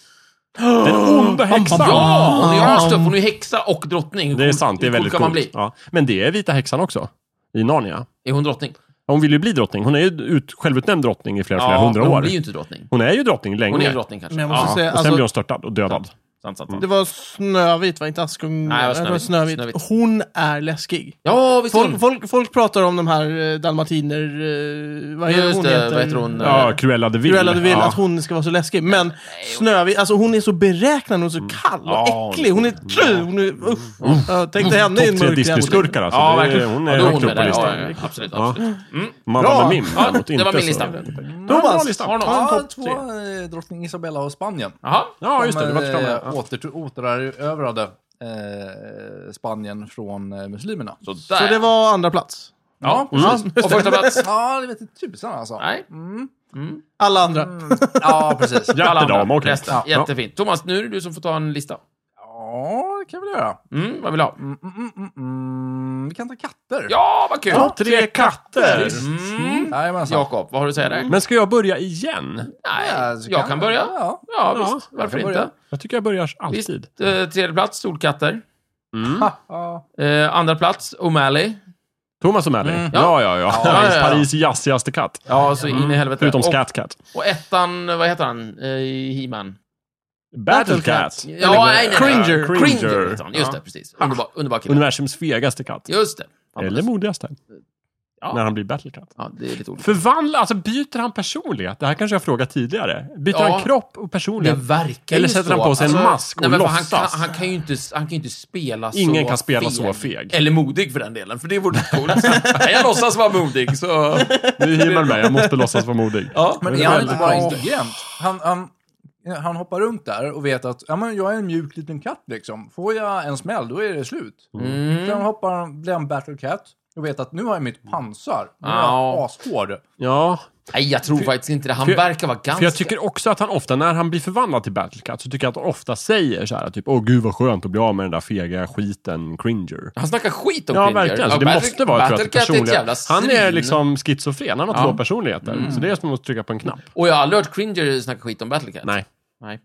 Den onda häxan!
Ja, hon är ju astuff. Hon är ju häxa och drottning. Hur
Det är
cool-
sant, det är
hur cool
väldigt
kan man bli?
coolt. Ja. Men det är vita häxan också, i Narnia.
Är hon drottning?
Hon vill ju bli drottning. Hon är ju ut, självutnämnd drottning i flera, flera
men
hundra
hon
år.
blir ju inte drottning.
Hon är ju drottning länge.
Hon är drottning kanske.
Men jag måste
ja.
säga,
och sen
alltså,
blir hon störtad och dödad.
Sant, sant, sant.
Det var Snövit, va? Inte Askung?
Nej, det var
det var
Snövit.
Snövit.
Snövit.
Hon är läskig.
Ja, visst
Folk, folk, folk pratar om de här eh, dalmatiner... eh, Vad, är
Just
hon
det,
heter?
vad heter hon? Eh,
Ja, Cruella de Vil.
Cruella de Vil,
ja.
att hon ska vara så läskig. Men Snövit, alltså hon är så beräknande, hon är så kall
Ja,
och äcklig. Hon är... Hon är usch. Ja, Tänk dig henne i en
Mm. Topp tre
mörk jävel.
Disney-skurkar alltså. Det är- Hon är
Ja, då
högt upp på
där.
listan.
Ja, ja, ja, absolut,
Ja.
absolut.
Mamma
Bra.
med Mim
Ja,
däremot
det var
inte
min
så.
lista.
Thomas!
Har du
Ja,
någon?
Mm. Ja,
topp
två
tre.
eh, drottning Isabella av Spanien.
Jaha.
Ja, just det. Det
Som,
var till
eh,
Spanien.
åter, återerövrade eh, Spanien från eh, muslimerna.
Sådär.
Så det var andra plats.
Ja,
Mm.
precis. Och första plats.
Ja, det vet inte tusan alltså.
Nej.
Mm.
Alla
Mm.
andra.
Ja, precis.
Ja.
Alla
Jättedam,
andra.
okej.
Resten.
Ja.
Jättefint. Thomas, nu är det du som får ta en lista.
Ja, det kan vi göra.
Mm, vad vill du ha?
Mm, mm, mm, mm, mm. Vi kan ta katter.
Ja, vad kul!
Ja, tre katter!
Mm.
Jajamensan.
Jakob, vad har du att säga där?
Men ska jag börja igen?
Nej,
Ja, så
jag kan börja.
Ja,
Ja,
Ja,
visst. Varför
jag kan börja.
inte?
Jag tycker jag börjar alltid.
Visst, eh, tredje plats, Solkatter.
Mm.
ja. ja.
Eh, andra plats, O'Malley.
Thomas och Mally.
Mm.
Ja, ja, ja.
Ja, ja, ja.
Paris jazzigaste katt.
Ja, så in i helvete.
Mm. Förutom
och,
Scat Cat.
och ettan, vad heter han? Eh, He-Man.
Battle
Cat.
Cat.
Ja, nej, nej, nej.
Cringer.
Cringer.
Cringer.
heter han. Just det, precis. Underbar, underbar kille.
Universums fegaste katt.
Just det.
Eller modigaste.
Ja.
När han blir Battle Cat.
Ja, det är lite olika.
Förvandla, alltså byter han personlighet? Det här kanske jag frågat tidigare. Byter
Ja.
han kropp och
Det
personlighet?
verkar ju
Eller sätter
så. alltså-
han på sig en mask och
nej, men för Han
låtsas?
kan, han, kan ju inte, han kan ju inte spela så
Ingen kan spela så feg.
Eller modig för den delen, för det vore coolt. Nej, jag låtsas vara modig, så...
Nu är man med, jag måste låtsas vara modig.
Ja,
Men
Det
är
är
han
väldigt
inte bara
bra.
intelligent? Han, han, han hoppar runt där och vet att ja, men jag är en mjuk liten katt liksom. Får jag en smäll, då är det slut.
Mm.
Sen hoppar han, blir han battle cat och vet att nu har jag mitt pansar. Nu är jag
Ja.
ashård.
Ja,
Nej, jag tror faktiskt inte det. Han
för jag-
verkar vara ganska...
för jag tycker också att han ofta, när han blir förvandlad till Battle Cat, så tycker jag att han ofta säger så här typ Åh gud vad skönt att bli av med den där fega skiten, Cringer.
Han snackar skit om
Ja,
Cringer.
verkligen. Så det
Battle-
måste vara tror jag, att det
Battlecat
är
är ett jävla
personlighet. Han är
svin.
liksom schizofren, han har
Ja. Mm.
två personligheter. Så det är som att trycka på en knapp.
Och jag har aldrig hört Cringer snacka skit om Battlecat.
Nej.
Nej.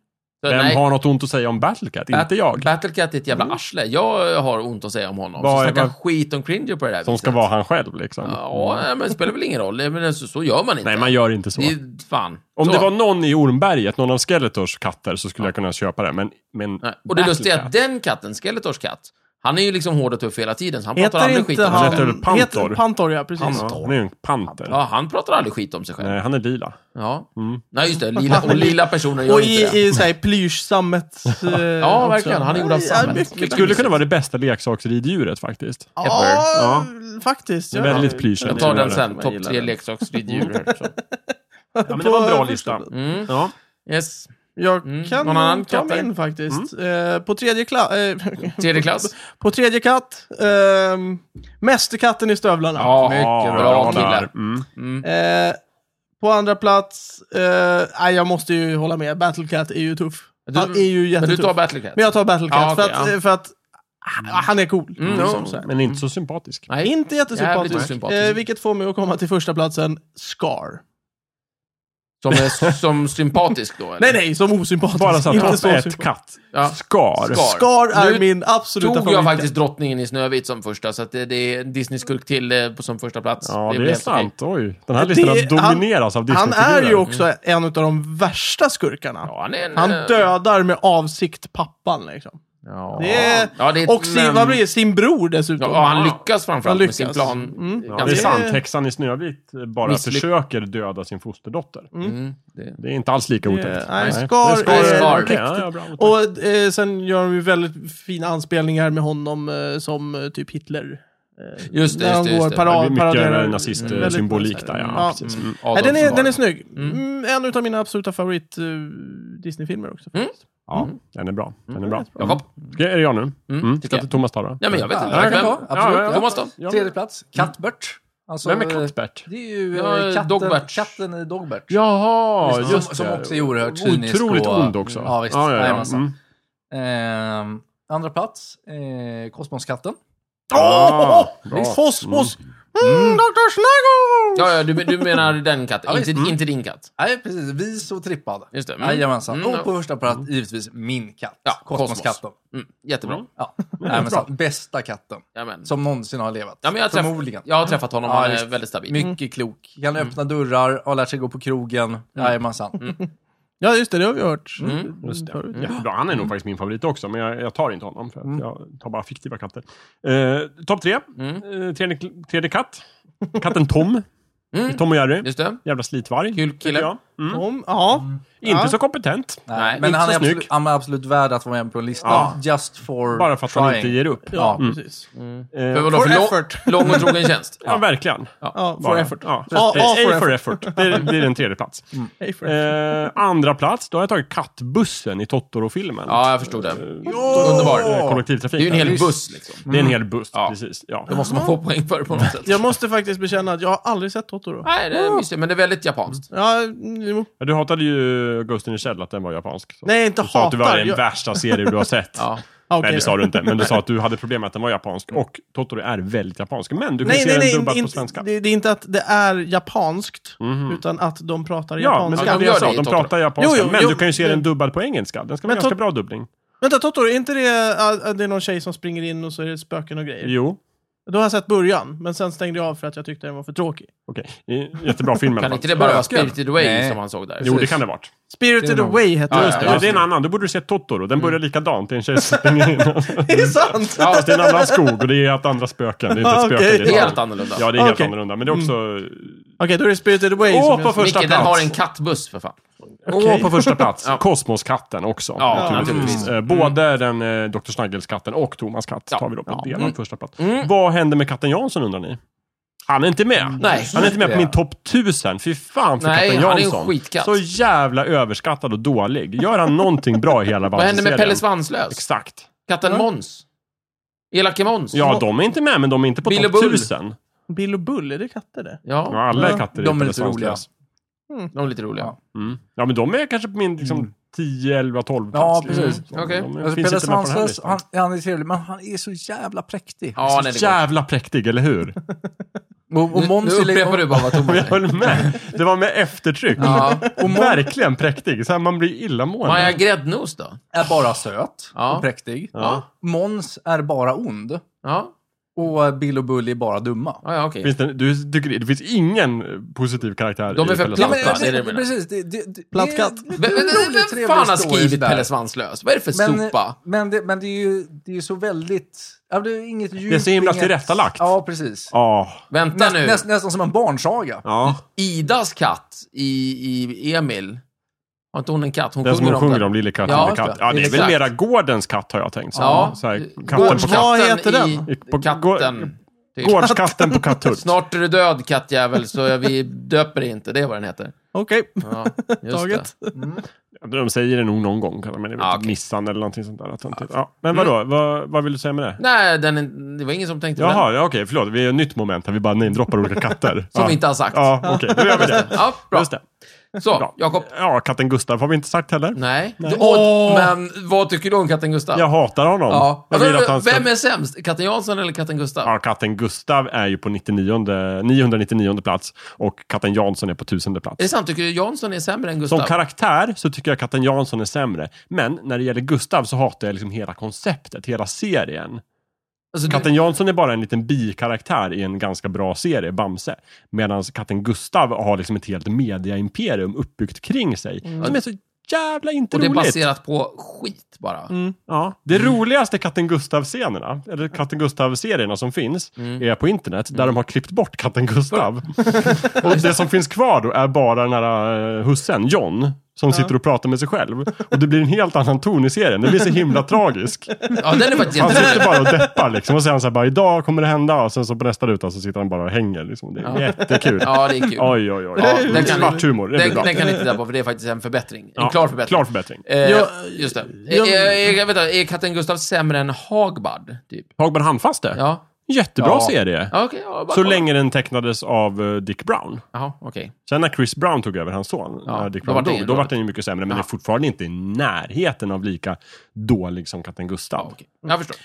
Så,
Vem
nej.
har något ont att säga om Battle Cat?
Bat-
Inte jag. Mm.
Battlecat är ett jävla arsle. Jag har ont att säga om honom.
Vad
så
är-
snackar
vad-
skit om Cringer på det där
Som ska
viset.
vara han själv liksom.
Ja, nej, men det spelar väl ingen roll. Nej, Men så, så gör man inte.
Nej, man gör inte så.
Det är fan.
Om
så.
det var någon i Ormberget, någon av Skeletors katter, så skulle jag kunna köpa det. Men, men
Nej. Och det lustiga är
Battle
att den katten, Skeletors katt, han är ju liksom hård och tuff hela tiden, så han pratar
Heter
aldrig skit
inte
om sig
han...
heter
själv.
väl Pantor?
Heter Pantor, ja. Precis.
Cat. Ja, han är ju en panter.
Ja, han pratar aldrig skit om sig själv.
Nej, han är lila.
Ja.
Mm.
Nej, just det. Lila, och lila personer gör
Och
inte det.
i, i såhär plyschsammet. eh,
Ja,
också.
verkligen. Han är gjord av
Ja,
sammet.
mycket
Mycket
Det skulle kunna vara det bästa leksaksriddjuret faktiskt.
Ever.
Ja, faktiskt. Ja.
Väldigt plyschig.
Jag tar den sen.
Jag
Topp
gillar
tre
den.
leksaksriddjur. så.
Ja, men det var en bra lista.
Mm.
Ja.
Yes.
Jag
Mm.
kan
Någon annan
ta
katt där?
min faktiskt. Eh, på tredje klass... Eh,
Tredje klass.
på tredje katt. ehm, Mästerkatten i stövlarna.
Ja,
Ja,
mycket
bra
bra killar.
där. Mm.
Mm.
Eh, på andra plats, eh, nej, jag måste ju hålla med. Battlecat är ju tuff.
Du-
han är ju
Men du
jättetuff.
tar Battlecat?
Men jag tar Battlecat
Ja, okej,
för att,
ja.
eh, för att ah, han är cool.
Mm,
liksom,
ja.
så här.
Men inte så sympatisk.
Nej.
Inte
Jävligt
jättesympatisk.
osympatisk.
Eh, vilket får mig att komma till första platsen Scar.
Som, är, som sympatisk då? Eller?
Nej, nej, som osympatisk.
Bara så att
Inte
han
så
är ett
sympatisk.
katt.
Ja.
Skar.
Skar.
Scar är
Nu
min absoluta
Tog jag
favorit.
faktiskt drottningen i Snövit som första, så att det, det är en Disney-skurk till eh, på- som första plats.
Ja,
blev
det är
helt okej.
sant. Oj. Den här listan
Det-
har domineras av
Han
Disney-figurer.
är ju också en av de värsta skurkarna.
Ja, han är en,
Han
eh,
dödar med avsikt pappan liksom.
Ja.
Det är-
ja, det är
Och sin,
men-
vad blir det? sin bror dessutom.
Ja, han lyckas framförallt
Han
med sin
lyckas.
plan.
Mm.
Ja, det är
Ganska-
sant. Häxan i Snövit bara
Misslyck-
försöker döda sin fosterdotter.
Mm. Det-
Det är inte alls lika
Det-
otäckt.
nej,
Nej.
Scar
Men
är-
Scar.
riktigt.
Ja, ja, bra. Otäckt.
Och eh, sen gör de ju väldigt fina anspelningar med honom eh, som eh, typ Hitler.
Just det,
När
just
han
det. Just
går
det.
para-
Det blir mycket
paraderar. Väldigt-
nazist-symbolik där, ja.
Ja.
Precis.
Mm.
Nej, den, är,
Adolfsson
den är
var-
snygg.
Mm.
Mm. En utav mina absoluta favorit eh, Disney-filmer också.
Mm.
faktiskt.
Ja, den är bra. Den är bra.
Jakob?
Ska, är det jag nu?
Mm,
Mm.
tycker
Ska
jag.
inte Thomas ta då?
Ja, men jag vet inte.
Ja, jag
Vem?
kan ta. Absolut.
Ja, ja, ja.
Thomas då?
Ja.
Tredje plats, Cuthbert. Alltså,
Vem är
eh,
Cuthbert?
Det är ju
Ja,
eh, katten,
Dogbert.
katten i Dogbert.
Jaha,
Som-
just
som
det.
också är oerhört cynisk
Otroligt
och-
ond också.
Ja, visst.
ja, ja.
Jajamensan.
Mm.
Ehm, andra plats, eh, Kosmoskatten.
Åh!
Ah, bra.
Kosmos! Mm, Dr. Snaggo!
Ja, ja, du, du menar den katten, inte, inte din katt.
Nej, precis. Vis och trippad.
Just det. Mm.
Jajamensan.
Mm, ja.
Och på första plats, givetvis, min katt.
Ja,
Kosmoskatten.
Mm, jättebra.
Mm.
Ja, Jajamensan. Bästa katten
Jajamän.
som någonsin har levat.
Ja, men jag, har
Förmodligen.
träff, jag har träffat honom,
Ja,
han är
visst.
väldigt stabil. Mm.
Mycket klok. Kan öppna dörrar, har lärt sig gå på krogen. Jajamensan. Eh,
Ja, just det. Det har vi hört.
Mm,
Just det.
förut.
Jättebra. Han är nog faktiskt min favorit också, men jag, jag tar inte honom. För att Jag tar bara fiktiva katter. Eh, Topp tre.
Mm.
Eh, tredje, tredje katt. Katten Tom.
Mm.
Tom och Jerry.
Just det.
Jävla slitvarg.
Kul
tycker
kille.
jag. Mm.
Om, ja.
Inte
Ja.
så kompetent.
Nej,
men
inte
han är,
så
absolut,
snygg.
han är absolut värd att vara med på listan.
Ja.
Just for
Bara för att han inte
trying.
ger upp.
Ja,
Mm.
precis.
Eh,
För vadå?
For
För lång-
effort.
Lång och trogen tjänst.
Ja, verkligen.
Ja, for
Bara.
effort.
Ja.
A,
Eh,
A for
A for
effort.
effort. Det blir en tredje plats.
A for effort.
Eh, andra plats, då har jag tagit kattbussen i Totoro-filmen.
Ja, jag förstod det.
Eh,
Underbar.
Kollektivtrafik.
Det är ju en hel buss liksom.
Det är en hel buss,
Ja.
precis. Ja.
Det måste man få poäng för på något sätt.
Jag måste faktiskt bekänna att jag har aldrig sett Totoro.
Nej, det är mysigt, men det är väldigt japanskt.
Ja, mm, jo.
Ja, Du hatade ju Ghost in the Shell, att den var japansk. Så.
Nej, inte
du sa att det var
hatar.
den
Jag-
värsta serien du har sett.
Ja.
Ah, okej
Nej, det
då.
sa du inte. Men du sa att du hade problem med att den var japansk. Och Totoro är väldigt japansk. Men du kan
Nej,
se
nej, nej.
den dubbad
in-
på svenska.
Det, det är inte att det är japanskt,
Mhm.
utan att de pratar
Ja, men
japanska.
det
Ja,
var
de
det
gör
jag
det
sa.
i
De
Totoro.
pratar japanska.
Jo, jo,
men
jo,
du kan ju se
men-
den dubbad på engelska. Den ska vara
Men
ganska
Tot-
bra dubbling.
Vänta, Totoro, är inte det äh, att det är någon tjej som springer in och så är det spöken och grejer?
Jo,
Då har jag sett början, men sen stängde jag av för att jag tyckte den var för tråkig.
okej. Jättebra film i alla
Kan
fall.
inte det bara vara
Spöken?
Spirited Away
Nej.
som han såg där?
Jo, det kan det vara.
Spirited
Det är nog-
Away hette
Ja, Mm.
den.
just
Ja, det är
det.
en annan. Då borde du se Totoro. Den börjar likadant. Det är en tjej som springer in.
Det är sant!
Ja, fast det är en annan skog och det är ett andra spöken. Det är inte ett
Okej.
spöke. det är ett
Helt
annat.
annorlunda.
Ja, det är helt
Okej. Mm.
annorlunda. Men det är också...
Okej, då är det Spirited Away
Åh,
som
på
jag...
första
Micke, den
plats.
har en kattbuss för fan.
Okej.
Och på första plats,
Ja.
Kosmoskatten också.
Ja,
naturligtvis.
mm.
Eh, Både den eh, Dr. Snuggles-katten och Thomas katt tar vi då på
Ja.
delad
Mm.
första plats.
Mm.
Vad hände med katten Jansson undrar ni? Han är inte med.
Nej.
Han är inte med på
det.
min topp 1000. Fy fan för
Nej,
katten
han är en
Jansson.
skitkatt.
Så jävla överskattad och dålig. Gör han någonting bra i hela
Vad hände med
Bamse-serien?
Pelle Svanslös?
Exakt.
Katten Måns? Elake Måns?
Ja, de är inte med, men de är inte på
Bill och
topp
Bull.
1000.
Bill och Bull, är det katter det?
Ja,
Ja,
alla
Ja,
katter
de är
Pelle
lite roliga.
Svanslös.
de är lite roliga.
Mm. Ja, men de är kanske på min liksom, 10, 11, 12
Mm. Ja,
plats. liksom.
precis.
De-
Okej.
de finns
Alltså,
inte
Pelle
med på den här
Svanslös,
listan.
han, han är trevlig, men han är så jävla präktig.
Ja, nej, det
Så
går.
jävla präktig, eller hur?
Och, och
Nu, nu
Måns är li-
upprepar du bara vad Thomas
Jag
säger.
höll med. Det var med eftertryck.
Ja.
Och verkligen präktig. Så här, man blir illamående.
Maja Gräddnos då?
är bara söt
Ja.
och präktig.
Ja.
Måns är bara ond.
Ja,
Och Bill och Bull är bara dumma.
ja, ja okej.
Finns det, du tycker det finns ingen eh, positiv karaktär
De är
i
för
Pelle
platta.
Svanslös?
det är det jag menar.
precis. Det, det, det,
Platt
det är
katt.
en
Vem, vem,
rolig,
vem
trevlig
fan har
story
skrivit
sådär.
Pelle Svanslös? Vad är det för
men,
sopa?
men, det, men det är ju det är så väldigt... Ja, det är inget djup.
Det är så himla
inget-
tillrättalagt.
Ja, precis.
Ja.
Vänta
eh, Näst,
nu.
näst, nästan som en barnsaga.
ja.
Idas katt i, i Emil. Har inte hon en katt? Hon
Den som
sjunger
hon
om
sjunger
den.
om, Lille katt,
Ja,
Lille katt.
just det.
Ja, det är väl
Exakt.
mera gårdens katt har jag tänkt. Så,
Ja.
så här, katten på
Gårdskatten
katt.
Vad heter den?
i-
I- på-
Katten. typ.
Gårdskatten på Katthult.
Snart är du död kattjävel, så är vi döper dig inte. Det är vad den heter.
Okej,
Ja, just det.
taget.
De säger det nog någon gång, men det är väl
Ja,
typ
okej.
Nissan eller någonting sånt där. töntigt. Ja. Men vadå, vad, vad vill du säga med det?
Nej, den, är- det var ingen som tänkte på den.
Jaha, ja, okej, förlåt. Vi är ett nytt moment här. Vi bara namedroppar olika katter.
Som
ja.
vi inte har sagt.
Ja, okej. Då gör vi det.
Ja, bra.
Just det.
Så,
Bra.
Jakob.
Ja, katten Gustav har vi inte sagt heller.
Nej.
Nej.
Och, men vad tycker du om katten Gustav?
Jag hatar honom.
Ja. Alltså,
Jag vill att han ska...
Vem är sämst? Katten Jansson eller katten Gustav?
Ja, katten Gustav är ju på 99, 999 plats och katten Jansson är på 1000
Är det
plats.
sant? Tycker du Jansson är sämre än Gustav?
Som karaktär så tycker jag katten Jansson är sämre. Men när det gäller Gustav så hatar jag liksom hela konceptet, hela serien.
Alltså, du-
Katten Jansson är bara en liten bikaraktär i en ganska bra serie, Bamse. Medan katten Gustav har liksom ett helt mediaimperium uppbyggt kring sig. Som är så jävla inte
Mm. och det är
roligt. Mm.
baserat på skit bara.
Ja, det roligaste Katten Gustav-scenerna, eller Katten Gustav-serierna som finns,
Mm.
är på internet, där de har klippt bort Katten Gustav. och det som finns kvar då är bara den här eh, hussen, John, som sitter och pratar med sig själv. Och det blir en helt annan ton i serien, den blir så himla tragisk.
Ja, den är faktiskt
Han sitter
jätterolig.
bara och deppar liksom, och sen så här bara, idag kommer det hända, och sen så på nästa ruta så sitter han bara och hänger liksom. Det är jättekul.
Ja, det är kul.
Oj, oj, oj.
Ja,
Ja,
den kan-
Svart humor, det
Den,
blir bra.
den kan ni titta på, för det är faktiskt en förbättring. En
Ja,
klar förbättring.
Klar förbättring.
Eh,
Ja,
just det. Eh,
jag-
eh, eh, vänta, är katten Gustav sämre än Hagbard? Typ?
Hagman Handfaste.
Ja.
Jättebra
Ja.
serie.
ja okej. ja, bara
Så
kolla.
länge den tecknades av eh, Dick Brown.
Jaha, okej.
Sen när Chris Brown tog över hans son,
Ja,
när Dick
då
Brown
var det
dog,
ingen
då
bra.
var den ju mycket sämre. Men
Ja.
det är fortfarande inte i närheten av lika dålig som katten Gustav.
Ja, okej. Jag förstår.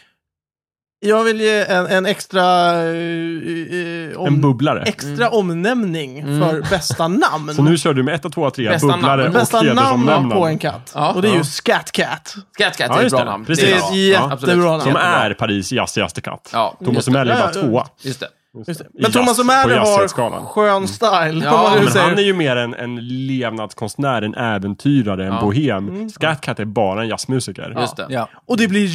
Jag vill ge en, en extra... eh, eh, om,
En bubblare.
extra omnämning för bästa namn.
Så nu kör du med 1, 2, 3,
Bästa
bubblare
namn.
och
bästa namn
hedersomnämnare.
på en katt.
Ja.
och det är
Ja.
ju Scat Cat.
Scat Cat
Ja,
är ett
just
bra
det.
namn.
Precis.
Det är
bra.
ett
Ja,
jättebra
absolut.
namn.
Som
Jättebra.
är Paris jazzigaste katt.
Ja,
Thomas
just det.
Melli
Ja,
var
ja.
tvåa.
Just det.
Just det.
I
Men Thomas
jazz-
och
på Mm.
Märner har
jazzskalan.
skön style.
Ja,
om man
Ja,
nu
men
säger.
han är ju mer en, en levnadskonstnär, en äventyrare, en
Ja. Mm.
bohem. Scatcat är bara en jazzmusiker.
Just det.
Ja.
Och det blir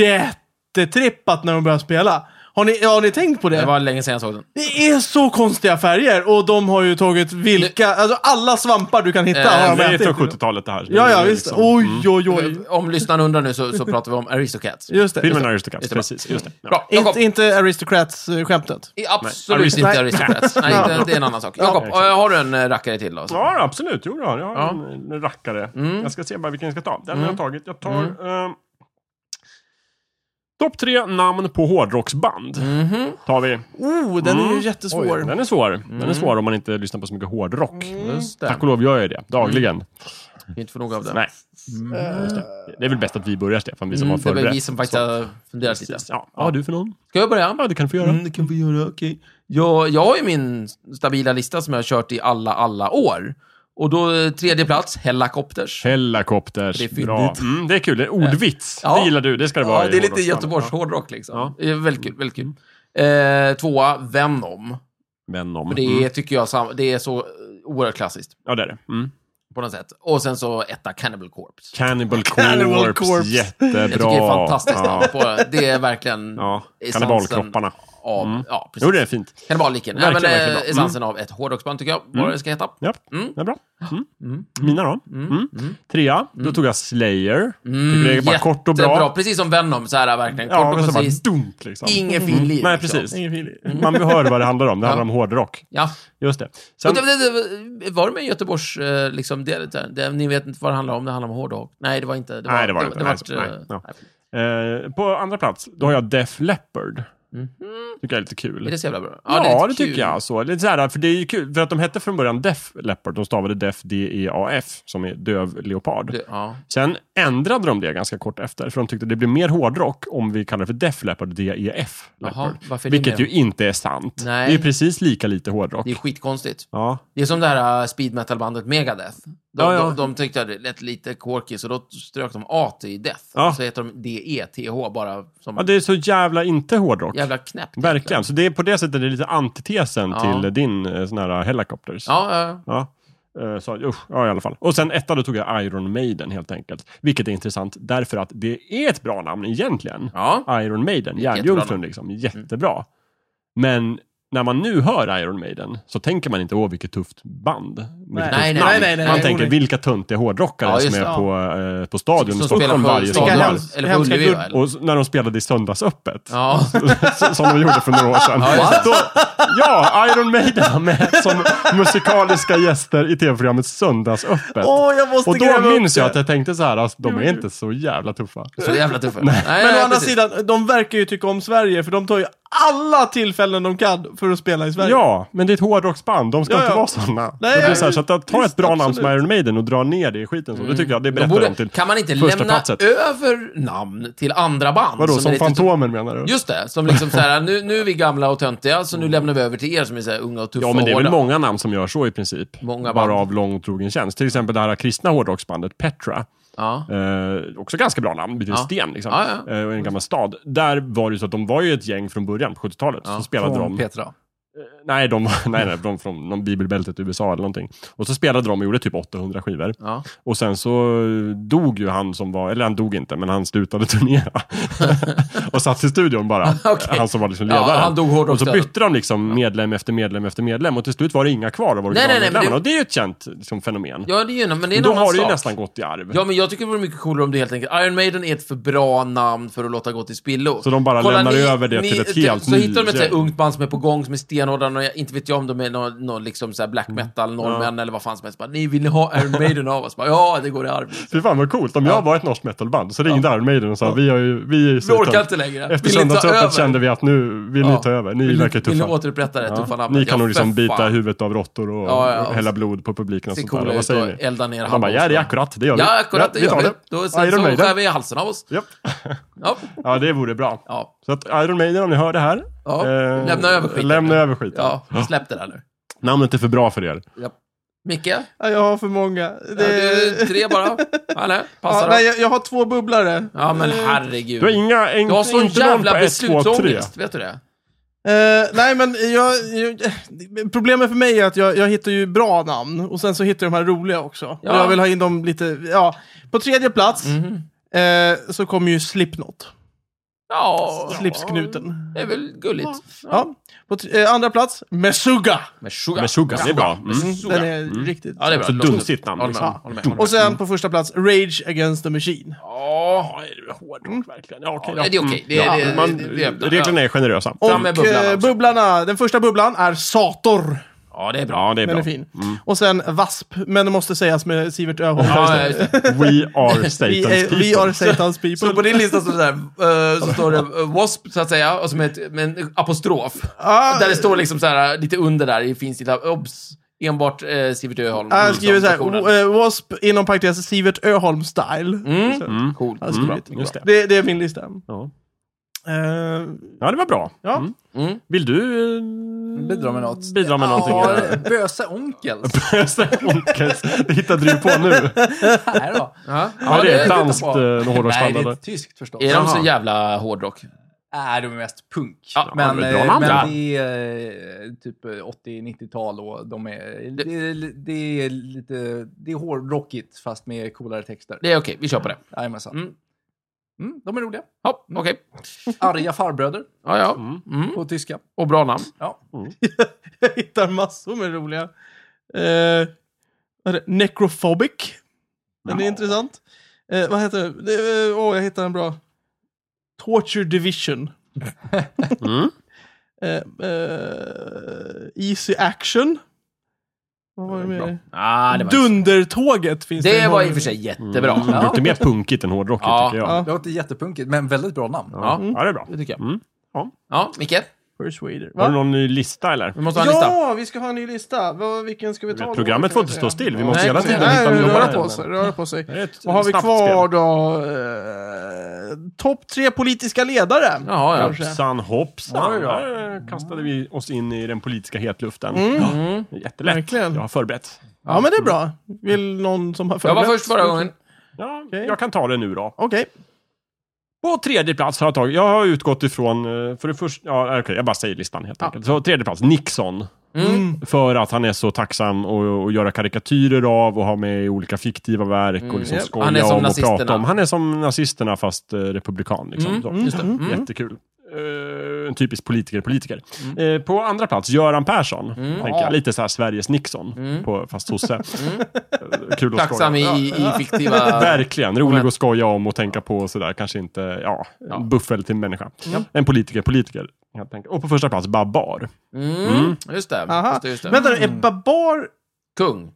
jättetrippat när de börjar spela. Har ni, har ni tänkt på det?
Det var länge sedan jag såg den.
Det är så konstiga färger och de har ju tagit vilka, alltså alla svampar du kan hitta.
Eh,
har de
Det är ju
ätit.
från 70-talet det här.
Ja, ja,
Det är
visst.
liksom-
Oj, oj, oj.
Om lyssnaren undrar nu så, så pratar vi om Aristocats.
Just det.
Filmen Aristocats,
Just det.
precis. Just det. Mm. Ja.
Bra, Jakob.
Inte, inte Aristocrats-skämtet.
I- Absolut
Arist-
inte
Nej.
Aristocrats. Nej, det, det är en annan sak. Jakob, eh, har du en eh, rackare till då?
Ja, absolut. Jo, då, jag har
Ja. Mm.
en en rackare. Jag ska se bara vilken jag ska ta. Den har jag tagit. Jag tar... Mm. Topp tre namn på hårdrocksband.
Mm. Mhm.
Tar vi.
Oh, den är ju
Mm.
jättesvår.
Den är svår.
Mm.
Den är svår om man inte lyssnar på så mycket hårdrock.
Just det.
Tack och lov gör jag det. Dagligen.
Mm. Inte för nog av det.
Nej. Just det. det är väl bäst att vi börjar, Stefan. Vi som
Mm,
har
det är
förberett.
väl vi som faktiskt
Så-
har funderat lite.
Ja, vad har du för någon?
Ska jag börja?
Ja, det kan du få göra.
Mm, det kan vi göra, okej. Jag, jag har ju min stabila lista som jag har kört i alla, alla år. Och då eh, tredje plats, Hellacopters.
Helikopters.
Det är fyndigt.
Bra. Mm, det är kul. Det är Ordvits.
Ja.
Det gillar du. Det ska det vara.
Ja,
i
det är lite
hårdrocksband.
Göteborgs hårdrock liksom.
Ja.
Det är väldigt kul. Väldigt kul. Eh, tvåa, Venom.
Venom.
För det
Mm.
tycker jag sam- det är så eh, oerhört klassiskt
Ja, det är det. Mm.
på något sätt. Och sen så etta, Cannibal Corpse.
Cannibal Corpse.
Cannibal Corpse.
Jättebra.
Jag tycker det är fantastiskt.
Ja.
På, det är verkligen
Ja.
essensen
Kannibalkropparna.
av...
Mm.
Ja, precis.
Jo, det är fint.
Kannibaliken. Nej, men,
Verkligen, verkligen
eh,
bra. Mm.
essensen av ett hårdrocksband tycker jag. Vad det ska heta.
Ja,
Mm.
det är bra. Mm.
Mm.
Mina då?
Mm.
Mm. Trea, då tog jag Slayer.
Mm,
Tycker det är bara kort och bra.
jättebra. Precis som Venom, så här verkligen. Kort
Ja,
och
men så bara
koncist.
dumt liksom.
Ingen fin liv.
Nej, precis.
Ingen feeling.
Man hör vad det handlar om. Det handlar om hårdrock.
liksom. Ja.
Just det. Sen,
Och det, det, det, var det med Göteborgs, eh, liksom, det, det, det, ni vet inte vad det handlar om, det handlar om hårdrock. Nej, det var inte. Det var,
Nej, det var det inte.
det,
Nej,
vart, eh,
nej, ja. eh, på andra plats, då har jag Def Leppard. Tycker jag är lite kul.
Mm-hmm. Är det så jävla bra?
Ja, det,
är kul.
tycker jag. Så, lite så här, för det är ju kul, för att de hette från början Def Leopard. De stavade Def D-E-A-F, som är döv leopard.
Det, ja.
Sen ändrade de det ganska kort efter, för de tyckte det blir mer hårdrock om vi kallar det för Def Leopard, D-E-F
Jaha,
Leopard.
varför är det
Vilket
med?
ju inte är sant.
Nej.
Det är ju precis lika lite hårdrock.
Det är skitkonstigt.
Ja.
Det är som det här eh, speed metal-bandet Megadeth. De,
Ja, ja.
de, de tyckte att det lät lite quirky, så då strök de A i Death.
Ja.
Så heter de D-E-T-H bara som
ja, det är så jävla inte hårdrock.
jävla knäppt.
Verkligen. Så det är på det sättet det är lite antitesen
Ja.
till din eh, sån här helikopters.
Ja, äh, ja.
Ja. Eh, Så, usch, ja, i alla fall. Och sen etta, då tog jag Iron Maiden helt enkelt. Vilket är intressant därför att det är ett bra namn egentligen.
ja.
Iron Maiden,
Jättebra
Järnjungfrun
namn.
liksom. Jättebra. Men när man nu hör Iron Maiden så tänker man inte åh vilket tufft band. Vilket
Nej.
Nej,
tufft
nej,
namn.
nej,
nej, nej,
man
nej,
tänker
nej.
vilka töntiga hårdrockare
Ja, just
som är
det, ja.
på, eh, på stadion i
Som spelar
Stockholm
på
varje
stadion,
sommar.
helst-
eller på
hemska
Ullevi,
guld-
va, eller?
Och s- när de spelade i Söndagsöppet.
Ja.
S- som de gjorde för några år sedan.
Ja, just det.
Då, ja, Iron Maiden var med som musikaliska gäster i tv-programmet Söndagsöppet.
Åh, jag måste
och
gräva
då
upp
minns
det.
jag att jag tänkte så här, alltså, de är inte så jävla tuffa.
Så jävla tuffa. Nej,
Men å
nej,
andra
precis.
sidan, de verkar ju tycka om Sverige, för de tar ju alla tillfällen de kan för att spela i Sverige.
Ja, men det är ett hårdrocksband, de ska
Ja,
inte
ja.
vara sådana.
Nej,
Nej, det
ja,
är så här, så att ta
visst,
ett bra namn som
absolut.
Iron Maiden och dra ner det i skiten. Så. Det tycker jag, det
De
berättar de
borde,
till
kan man inte
första
lämna
platset.
över namn till andra band?
Vadå, som,
är lite-
Fantomen menar du?
Just det, som liksom så här, nu, nu är vi gamla och töntiga, så nu lämnar vi över till er som är så här unga och tuffa
Mm. Ja, men det är
och
väl
hårda.
många namn som gör så i princip.
Många band.
Bara av långtrogen tjänst. Till exempel det här kristna hårdrocksbandet Petra.
Ja.
Eh, också ganska bra namn, betyder
Ja.
sten liksom.
Ja, ja.
Eh, och en gammal stad. Där var det ju så att de var ju ett gäng från början, på 70-talet.
Ja,
Så spelade
Från
de...
Petra.
Nej, de var nej, nej, de från någon bibelbältet i USA eller någonting. Och så spelade de och gjorde typ 800 skivor.
Ja.
Och sen så dog ju han som var, eller han dog inte, men han slutade turnera. och satt i studion bara.
Okej.
Han som var liksom ledaren.
ja, han dog hårdrock.
och så bytte de liksom medlem efter medlem efter medlem och till slut var det inga kvar av
nej, nej, men
originalmedlemmarna.
det-
Och det är ju ett känt liksom, fenomen.
Ja, det är ju, en- men det är en
Då
annan
har det ju
sak.
nästan gått i arv.
Ja, men jag tycker det vore mycket coolare om du helt enkelt... Iron Maiden är ett för bra namn för att låta gå till spillo.
Så de bara lämnar över det till ett helt
typ, Så
ny-
hittar de ett så här ungt band som är på gång, som är stenhårda, och jag- inte vet jag om de är någon, någon liksom så här black
Mm.
metal, norrmän eller vad fan som helst. Bara, ni vill ni ha Iron Maiden av oss? Bara, ja, det går i arv.
Fy fan vad coolt. Om jag var ett norskt metalband så ringde Iron Maiden och sa vi, har ju, vi är ju
Vi orkar inte längre.
Efter
Vill ni ta över?
söndagsöppet kände vi att nu vill
Ja.
ni ta över. Ni
Vill
verkar
Vill ni
tuffa.
återupprätta det tuffa
Ja.
namnet?
Ni kan nog
Ja,
liksom
för
bita
fan.
huvudet av råttor och
Ja, ja, och
hälla blod på publiken och
Ser
sånt där.
coolare
Vad
ut och
säger ni?
elda ner
Han bara, ja det är
handbollen.
akkurat, det gör vi.
Ja, akkurat. Det
vi tar
gör vi.
det.
Då sen
Iron
så
Maiden.
skär vi i halsen av oss.
Japp.
Ja.
Ja, det vore bra.
Ja.
Så att Iron Maiden, om ni hör det här.
Ja. Lämna över skiten.
Eh, Lämna över skiten.
ja, släpp det där nu.
Namnet är för bra för er.
Micke,
Ja, Jag har för många. Det...
det... är tre bara. Eller?
ja,
Passar
nej,
ja,
jag, jag har två bubblare.
ja, men herregud.
Du har inga, en,
Jag Mm. har sån
inte någon på
jävla
1, 2, 3.
beslutsångest, vet du det?
Eh, nej, men jag, jag, problemet för mig är att jag, jag hittar ju bra namn och sen så hittar jag de här roliga också.
Ja. Mhm.
Och jag vill ha in dem lite, ja. På tredje plats eh, så kommer ju Slipknot.
Ja,
Slipsknuten.
Det är väl gulligt.
Ja. På t- eh, andra plats, Meshuggah.
Med sugar.
Men Sugar, det är bra. Mm.
Den är riktigt...
Ja, det Mm. är bra.
Så
Låt-
dunstigt namn,
Håller med,
liksom.
håller med, håller med.
Och sen på första plats, Rage Against the Machine.
Ja,
Hårdrock, verkligen. Ja, okej,
Ja, det är
Mm.
okej. Det är-
Ja,
det är-
man-
det är- det är öppna.
Reglerna är generösa.
Och
Fram med bubblan
eh,
också.
bubblarna, den första bubblan är Sator.
ja, det är bra. Mm.
Ja, det är
Den är
bra.
fin. Och sen Wasp, men det måste sägas med Sivert Öholm.
Ja, just det.
We are
vi,
Satan's
är, vi are
people.
Satan's people.
Så på din lista står det såhär, så står det eh, W.A.S.P. så att säga, och som ett, med en apostrof.
Ah.
där det står liksom så här lite under där, det finns lite obs, enbart eh, Sivert Öholm.
Ja, Han
som
skriver
personen.
såhär, eh, Wasp inom parentes Sivert Öholm style.
Mm.
Så,
Coolt. Mm.
han har skrivit.
Just det.
Det, det är min lista.
Ja.
Eh,
ja, det var bra.
ja.
Mm.
Mm.
Vill du eh,
Bidra med något.
bidra med någonting?
Ja, Böse onkels.
Onkels, det hittade du ju på nu.
Här då.
Ja.
Ja, det är
det-
ett danskt eh,
Nej, det
hårdrocksband.
är
eller?
tyskt förstås.
Är de
Jaha.
så jävla hårdrock?
Nej, de är mest punk.
Ja,
men
det är bra
eh,
namn.
men
Ja.
det är eh, typ eh, 80-90-tal och de är, det, är- det är lite, det är hårdrockigt fast med coolare texter.
Det är okej, vi kör på det.
Jajamensan.
Mm.
Mm. de är roliga.
Ja, okej.
Arga farbröder
Ja, ja.
Mm.
Mm.
på tyska.
Och bra namn.
Ja.
Jag hittar massor med roliga. Eh, vad är det? Necrophobic. Den är
Ja.
intressant. Eh, vad heter det? Det- eh, Åh, jag hittar en bra. Torture Division.
Mm.
Eh, eh, easy Action. Vad var det mer?
Ah, det var,
Dundertåget finns det.
det
en
var i
hård-
och för sig jättebra.
Mm. Lite mer punkigt än hårdrockigt
Ja.
tycker jag.
Ja.
Ja.
Det låter jättepunkigt, men väldigt bra namn.
Ja.
Ja. det är bra.
Det tycker jag.
Mm. Ja.
Ja, Micke.
Persuader.
Har du
Va?
någon ny lista eller?
Vi måste ha en lista.
Ja, vi ska ha en ny lista. Vad- Vilken ska vi ta? då?
Programmet får inte
Kan
stå
jag säga.
still. Vi måste
Nej,
hela
kom igen.
tiden hitta
Nej,
nya
röra
band.
på sig. Röra på sig.
Det är ett
Vad har vi
snabbt
kvar
spel.
då? Eh, Topp tre politiska ledare.
Jaha, ja.
kanske.
Hoppsan hoppsan.
Oj då.
Där kastade vi oss in i den politiska hetluften.
Mm.
Ja, Jättelätt.
Verkligen.
Jag har förberett.
Ja, men det är bra. Vill någon som har
Jag
förberett?
var först förra gången.
Ja,
Okej.
Jag kan ta det nu då.
Okej.
På tredje plats har jag tagit, jag har utgått ifrån, eh, för det första, ja okej, jag bara säger listan helt
Ja.
enkelt. Så tredje plats, Nixon.
Mm.
Mm.
För att han är så tacksam att att göra karikatyrer av och ha med i olika fiktiva verk och liksom
Mm. japp.
skoja
Han är som
om
nazisterna.
och prata om. Han är som nazisterna fast eh, republikan. Liksom,
Mm,
så.
just det. Mm.
Jättekul. Eh, en typisk politiker, politiker.
Mm.
Eh, på andra plats, Göran Persson. Tänker jag. Lite så här Sveriges Nixon, på, fast sosse. Eh, Kul att
Mm. Tacksam
skoja.
i, i fiktiva...
Verkligen, rolig
Moment.
att skoja om och tänka på och sådär. Kanske inte, ja,
Ja.
en buffel till en människa. En politiker, politiker. helt enkelt. Och på första plats, Babar.
Mm. Just det.
Aha.
Just det, just det.
Vänta nu, är Babar...
Kung.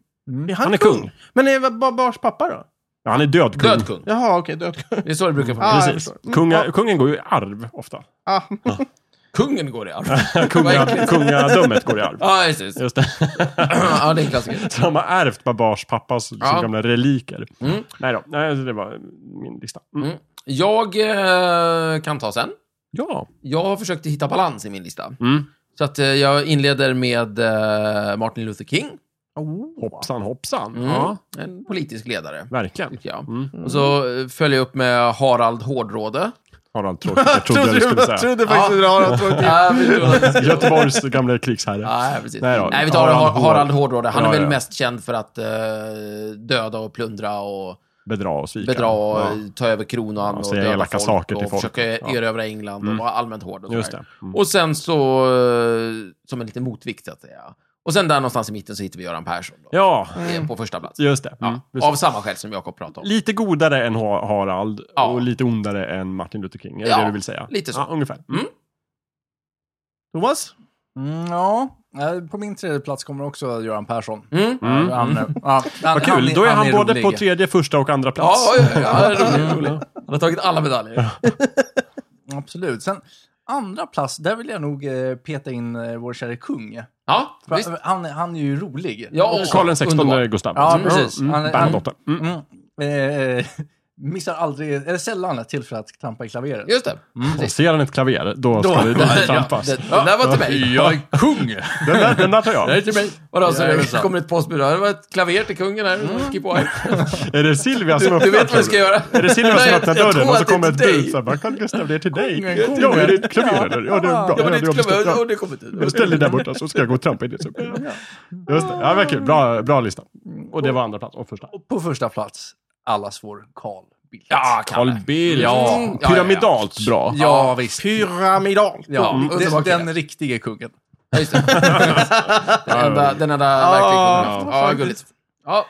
Är han,
Han är
kung?
kung.
Men är Babars pappa då?
Ja, han är död kung.
Död kung.
Jaha, okej, död kung.
Det är så det brukar vara.
Ah, jag
Precis.
förstår. Mm,
Kunga,
ja.
Kungen går ju i arv ofta.
Ah.
Kungen går i arv. Vad
Kunga,
äckligt.
kungadömmet går i arv.
Ja, just det. just det.
Just det.
Ja, det är en klassiker.
Så de har ärvt Babars pappas liksom,
Ja.
gamla reliker.
Mm.
Nej då, nej, det var min lista. Mm.
Mm. Jag eh, kan ta sen.
Ja.
Jag har försökt hitta balans i min lista.
Mm.
Så att eh, jag inleder med eh, Martin Luther King.
Hoppsan hoppsan.
Mm.
Ja,
En politisk ledare,
verkligen.
tycker jag.
Mm.
Och så eh, följer jag upp med Harald Hårdråde.
Harald Tråkigt, jag trodde jag du skulle
jag
säga.
trodde faktiskt att det var något tråkigt.
Ja, vi tror att det ska-
Göteborgs gamla krigsherre.
Ja, precis.
Nej då,
Nej, vi tar
Harald
Harald,
Hård-
Harald Hårdråde. Han
Ja,
är väl
ja.
mest känd för att eh, döda och plundra och
Bedra och svika.
bedra och
Ja.
ta över kronan
Ja,
och
säga
döda
elaka
folk
saker
och
till folk.
försöka
Ja. Mm.
erövra England och vara allmänt hård. Och
Just
sådär.
det. Mm.
Och sen så, eh, som en liten motvikt så att säga. Och sen där någonstans i mitten så hittar vi Göran Persson. Då.
Ja,
Det är På första plats.
just det. Mm.
Ja,
Precis.
av samma skäl som Jakob pratade om.
Lite godare än Ha- Harald
Ja.
och lite ondare än Martin Luther King. Är det
Ja,
det du vill säga?
lite så.
Ja, ungefär.
Mm.
Thomas?
Mm, ja, Eh, på min tredje plats kommer också Göran Persson.
Mm.
Ja, Han, eh, ja, han,
Vad kul, då är han, både
rolig.
på tredje, första och andra
Ja,
plats.
ja, ja, ja, roligt, roligt. Han har tagit alla medaljer.
Absolut. Sen andra plats, där vill jag nog eh, peta in eh, vår kära kung.
Ja,
För
visst.
Han, han är ju rolig.
Ja,
Karl den
underbar.
XVI Gustav.
Ja, precis.
Mm.
Han-
Bernadotte. Mm.
Mm. Eh, missar aldrig, eller sällan ett tillfälle att trampa i klaveret.
Just det.
Och ser han ett klaver, Mm. då ska det
ja,
trampas.
det, det där var till mig.
Jag är kung!
Den där, den där tar jag.
är till mig. Och då så
Ja, det är sant.
kommer ett postbud. Det var ett klaver till kungen här. Mm. Skip
Är det Silvia som
Du
öppnar?
vet vad jag ska göra.
Är det Silvia
Nej,
som
jag-
öppnar
jag
dörren
tror
och så
att det
kommer
är
ett
till
bud?
dig.
så här, bara, Carl Gustav, det är till dig.
Kungen,
Ja,
kungen.
är det ett klaver? eller? Ja, det är bra.
Ja, men det
det
är ett klaver.
bra.
Och det kommer till.
Ställ dig där borta så ska jag gå och trampa i det. Så. Just det. Ja, men kul. Bra, bra lista. Och det var andra plats och första.
Och på första plats, allas vår Carl Bildt.
Ja, kan
Carl
det.
Bildt.
Ja, ja, ja.
Pyramidalt bra.
ja visst.
Pyramidal.
Ja,
Mm.
det,
Underbar kille.
den riktige kungen.
Ja, just det. Den enda, den enda verkligen. Ja, gulligt. Ja,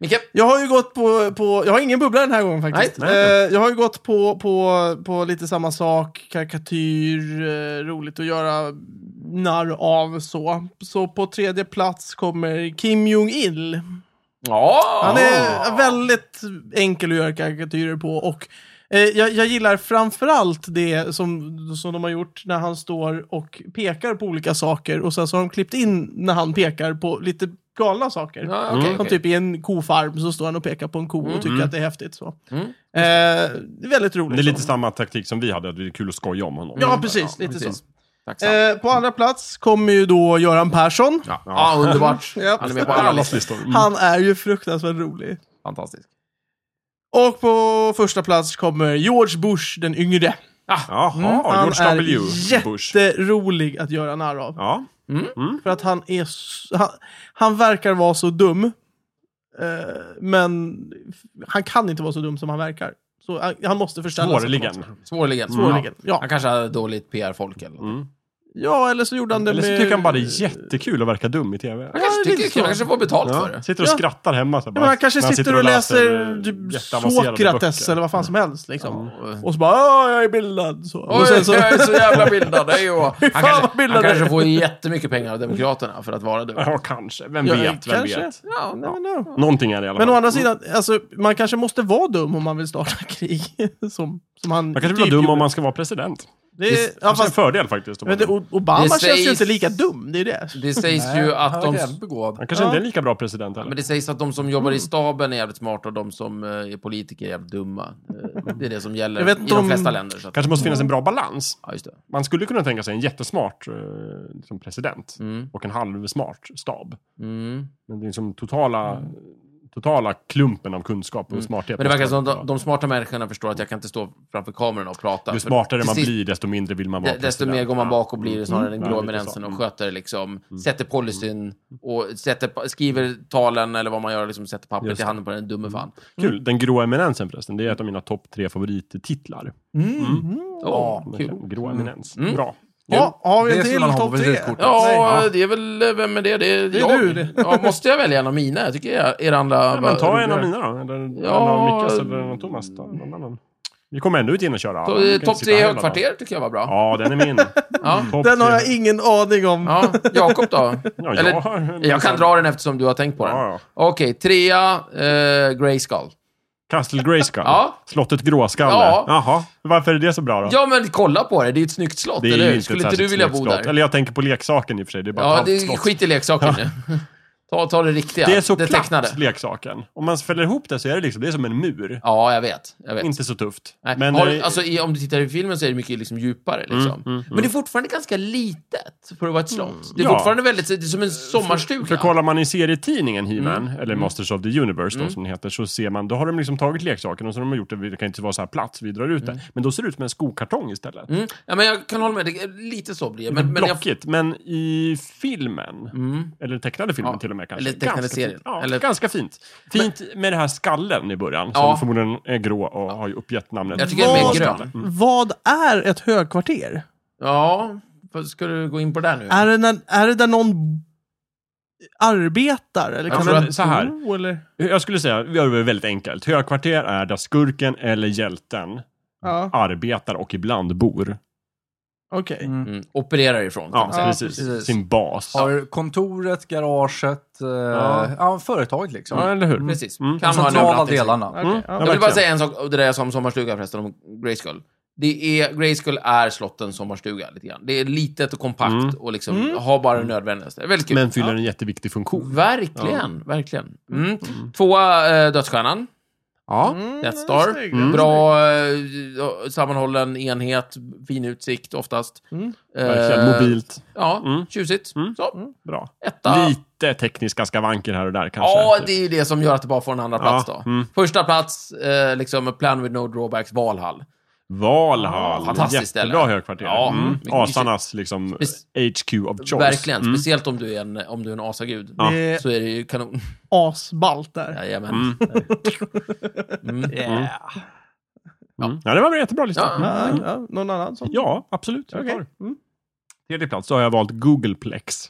Micke.
Jag har ju gått på, på, jag har ingen bubbla den här gången faktiskt.
Nej, nej.
Eh, jag har ju gått på, på, på lite samma sak, karikatyr, eh, roligt att göra narr av så. Så på tredje plats kommer Kim Jong-Il.
Ja!
Han
Ah.
är väldigt enkel att göra karikatyrer på och eh, jag, jag gillar framförallt det som, som de har gjort när han står och pekar på olika saker och sen så har de klippt in när han pekar på lite galna saker.
Ja, Ah, okej,
Som
okej.
typ i en kofarm så står han och pekar på en ko och tycker att det är häftigt. Så.
Mm.
Eh, det är väldigt roligt.
Det är lite Mm.
så.
samma taktik som vi hade, att det är kul att skoja om honom.
Ja, precis.
Ja,
lite
precis.
så.
Tacksam.
Eh, på andra plats kommer ju då Göran Persson.
Ja, ja underbart.
Japp.
Han är med på alla listor.
listor. Mm.
Han är ju fruktansvärt rolig.
Fantastisk.
Och på första plats kommer George Bush den yngre.
Mm.
Jaha,
han
George W.
är
Bush.
jätterolig att göra narr av.
Ja.
För att han är... s- Han, han verkar vara så dum. eh, men han kan inte vara så dum som han verkar. Så han, han måste förställa sig. på något sätt.
Svårligen. Mm.
Svårligen.
Svårligen,
Ja.
ja.
Han kanske hade dåligt PR-folk eller något.
Ja, eller så gjorde han det
Eller så
med...
tycker han bara det är jättekul att verka dum i tv.
Han kanske
det är
tycker
lite
det är kul.
så.
Han kanske får betalt för
Ja.
det.
Sitter och
Ja.
skrattar hemma. Så här,
Ja,
bara,
men han kanske
när
sitter, och läser
eh,
typ
jätteavancerade
Sokrates
böcker.
eller vad fan som helst. Liksom.
Ja.
Och så bara Åh, jag är bildad. Så.
Oj,
och sen så,
jag är så jävla bildad. Det är ju... Han
fan, vad
kanske,
bildad
han
jag är.
kanske får jättemycket pengar av Demokraterna för att vara du.
Ja, kanske. Vem
Ja,
vet? Vem
kanske.
vet?
Ja, never know.
Någonting är det i alla fall.
Men å andra sidan, alltså, man kanske måste vara dum om man vill starta krig. som, som han
Man Mm. kanske
typ
vill vara dum
gjorde.
om man ska vara president.
Det är,
Det alltså,
ja,
är en
fast,
fördel faktiskt. att vara
men det,
dum.
O- Obama
Det
känns ju
sägs-
inte lika dum, det är ju det.
Det sägs ju att
han
de...
verkar jävligt begåvad.
Han kanske inte
Ja.
är en lika bra president heller.
Men det sägs att de som jobbar i staben är jävligt smarta och de som eh, är politiker är jävligt dumma. Eh, Det är det som gäller
Jag vet
i
inte
de
om-
flesta länder. Så att,
kanske måste finnas en bra balans.
ja, just det.
Man skulle kunna tänka sig en jättesmart eh, liksom president
Mm.
och en halvsmart stab.
Mm.
Men det är liksom totala,
Mm.
totala klumpen av kunskap och smarthet.
Mm. Men det verkar
måste
som
vara
att de, de smarta människorna förstår att jag kan inte stå framför kameran och prata.
bra. ju
För
smartare
till
man
sist-
blir, desto mindre vill man vara
de- Desto
president.
mer går man
Ja.
bak och blir snarare den
Ja,
grå
lite
eminensen
så.
och sköter liksom, sätter policyn och sätter, skriver talen eller vad man gör, liksom sätter pappret
Just
i
Mm.
handen på den dumme fan.
Kul. Den grå eminensen förresten, det är ett av mina topp tre favorittitlar.
Ja, kul.
Grå eminens.
Mm.
Bra.
Ja, har vi
Det
en
skulle
till
man ha på
topp tre?
visitkortet.
Ja, det är väl, vem är det? Det är,
är
jag.
du, det.
Ja, måste jag välja en av mina? Jag tycker er- er andra...
Ja, men ta
var-
en av mina då, eller en
Ja,
av Mickas eller en av Thomas. Då. Någon annan. Vi kommer ändå inte in och köra.
To-
alla. Vi kan inte
eh, Topp
sitta
tre
här hela dagen.
högkvarter tycker jag var bra.
Ja, den är min.
Ja.
Topp
Den har
tre.
jag ingen aning om.
Ja, Jakob då?
Ja,
Eller,
jag, har-
Jag kan dra den eftersom du har tänkt på den.
Ja, ja.
Okej, trea, eh, Grayskull.
Castle Grayskull.
Ja.
Slottet Gråskalle.
Ja.
Jaha. Varför är det så bra då?
Ja, men kolla på det. Det är ju ett snyggt slott,
det är
eller
ju
hur?
inte
Skulle
ett
inte du
särskilt
vilja bo
snyggt slott.
där?
Eller jag tänker på leksaken i och för sig. Det är bara
Ja,
ett
det
halvt slott.
skit i leksaken nu. Ta, ta det riktiga.
Det är så
det
platt,
tecknade.
leksaken. Om man fäller ihop det så är det liksom, det är som en mur.
Ja, jag vet. Jag vet.
Inte så tufft.
Nej.
Men Mm,
har,
eh,
alltså, i, om du tittar i filmen så är det mycket liksom, djupare. Liksom. Men det är fortfarande ganska litet för att vara ett slott. Det är
Mm, Ja.
fortfarande väldigt... Det är som en sommarstuga.
För kollar man i serietidningen He-Man,
Mm.
eller Masters of the Universe då, som den heter, så ser man, då har de liksom tagit leksaken och så har de gjort det, det kan inte vara så här platt, så vi drar ut det. Men då ser det ut som en skokartong istället.
Mm. Ja, men jag kan hålla med. Det är lite så blir det. Men,
Men,
men jag,
Blockigt, men i filmen,
Mm.
eller tecknade filmen
Ja,
till och med kanske.
eller tecknade
ganska
serien.
Fint. Ja,
Eller-
Ganska fint. Fint med den här skallen i början, som
Ja.
förmodligen är grå och har ju uppgett namnet.
jag tycker det är Mm. mer grön.
Vad är ett högkvarter?
Ja, vad ska du gå in på där nu?
Är, det när, är det där någon arbetar? Eller
Jag
kan
tror
man
att- så här.
bo, eller?
Jag skulle säga, vi gör det väldigt enkelt. Högkvarter är där skurken eller hjälten
Ja,
arbetar och ibland bor.
okej.
Mm. Opererar ifrån. kan
Ja,
man säga.
precis.
precis.
Sin bas.
Har kontoret, garaget, eh,
Ja.
ja. företaget liksom.
Ja, eller hur?
Precis.
Mm.
Kan ha en
Centrala
övernattning.
delarna.
Okej,
Mm.
ja.
Ja,
Jag vill bara
verkligen.
säga en sak, och det där jag sa om sommarstuga förresten, om Grayskull. Det är, Grayskull är slottens sommarstuga lite grann. Det är litet och kompakt och liksom har bara det nödvändigaste. Det är Väldigt kul.
Mm. Men fyller en jätteviktig funktion. Mm.
Verkligen, verkligen. Mm. Tvåa, eh, Mm. Dödsstjärnan. Ja,
Mm,
Death Star.
snygg,
Mm.
snygg.
Bra eh, sammanhållen enhet, fin utsikt oftast.
Mm.
Verkligen.
Eh,
Mobilt.
Ja,
Mm.
tjusigt.
Mm.
Så,
Bra.
etta.
Lite tekniska skavanker här och där kanske.
Ja,
typ.
det är ju det som gör att det bara får en andra plats
Ja,
då.
mm.
Första plats, eh, liksom A Plan with No Drawbacks, Valhall.
Valhall.
Fantastiskt
Jättebra
ställe.
högkvarter.
Ja,
Mm.
mycket
Asarnas liksom
Precis.
HQ of choice.
Verkligen,
Mm.
speciellt om du är en, om du är en asagud.
Det är
Så är det ju kanon.
asballt där.
Jajamän.
Mm.
Mm.
Yeah.
Mm. Ja, det var en jättebra lista.
Ja.
Ja, ja, någon annan som...
Ja, absolut. Jag
Okej.
tar.
Mm.
Tredje plats så har jag valt Googleplex.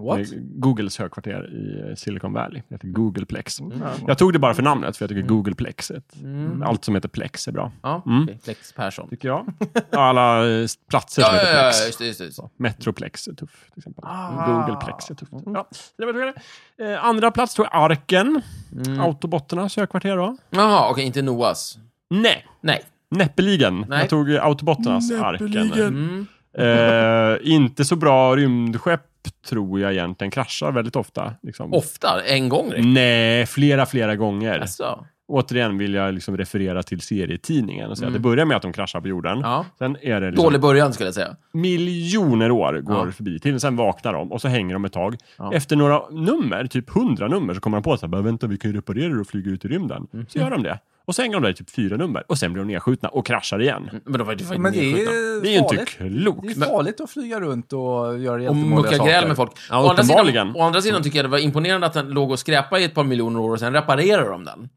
What?
Det är Eh, Googles högkvarter i eh, Silicon Valley. Det heter Googleplex.
Ja.
Jag tog det bara för namnet, för jag tycker Googleplex. är ett-
Mm.
Allt som heter Plex är bra,
Ja,
Mm.
okej. Lex Persson.
tycker jag. Alla eh, platser som
Ja, ja,
heter
ja,
Plex.
just det, just det. Just det.
Metroplex är tuff, till exempel.
Ah.
Googleplex är tufft. Ja, det var det. Eh, andra plats tror jag Arken.
Mm.
Autobotternas högkvarter då?
Jaha, okej, inte Noas.
Nej,
Nej.
näppeligen.
Nej.
Jag tog Autobotternas Arken.
Mm.
Eh, inte så bra rymdskepp tror jag egentligen. Kraschar väldigt ofta. Liksom.
Ofta, en gång
Mm.
räcker.
Nej, flera, flera gånger.
Alltså.
Återigen vill jag liksom referera till serietidningen och säga
Mm.
att det börjar med att de kraschar på jorden.
Ja.
Sen är det liksom
Dålig början skulle jag säga.
miljoner år går
Ja.
förbi till. Sen vaknar de och så hänger de ett tag.
Ja.
Efter några nummer, typ hundra nummer, så kommer de på att så här, "Bara, vänta, vi kan ju reparera det och flyga ut i rymden.
Mm.
Så gör de det. Och så hänger de där i typ fyra nummer och sen blir de nedskjutna och kraschar igen.
Men då var det ju
Men det är
nedskjutna.
ju
Det är ju inte
farligt. Det är
klokt.
ju farligt att flyga runt och göra
Och
jättemåliga
mucka
saker.
gräl med folk.
Ja,
å, andra sidan,
uppenbarligen.
å andra sidan tycker jag det var imponerande att den låg och skräpade i ett par miljoner år och sen reparerar de den.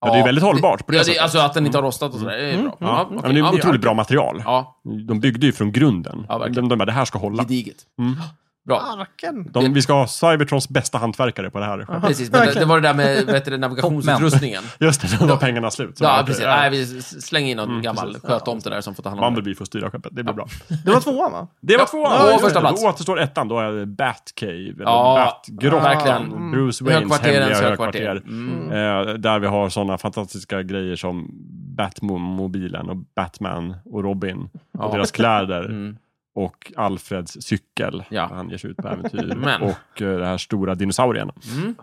Ja, det är ju väldigt hållbart på det
ja, det,
sättet. Mm.
Alltså att den inte har rostat och sådär, det är ju bra.
Ja,
okej.
men det är
Ja,
otroligt bra material.
Ja,
De byggde ju från grunden.
Ja, verkligen.
de, de bara, det här ska hålla.
gediget.
Mm.
Bra.
Arken.
De, vi ska ha Cybertrons bästa hantverkare på det här.
Precis, men det, det var det där med vet du, navigationsutrustningen.
Just det, då var pengarna slut. Så äh,
Ja,
okej,
precis.
ja. Mm,
Nej, vi s- slänger in någon gammal sköttomte där som får ta hand om det.
Bumblebee får styra skeppet, det blir bra.
Det var tvåan va?
Det var
Ja,
tvåan!
och
just
första
det.
plats.
Då återstår ettan, då är det Batcave, eller
Ja,
Batgrottan.
verkligen.
Mm. Bruce Waynes
Högkvarterens
hemliga
högkvarter. Mm.
högkvarter. Eh, där vi har sådana fantastiska grejer som Batmobilen och Batman och Robin.
Ja.
Och deras kläder.
Mm.
Och Alfreds cykel,
Ja.
när han ger sig ut på äventyr.
Men. Mm.
Och eh, den här stora dinosaurien.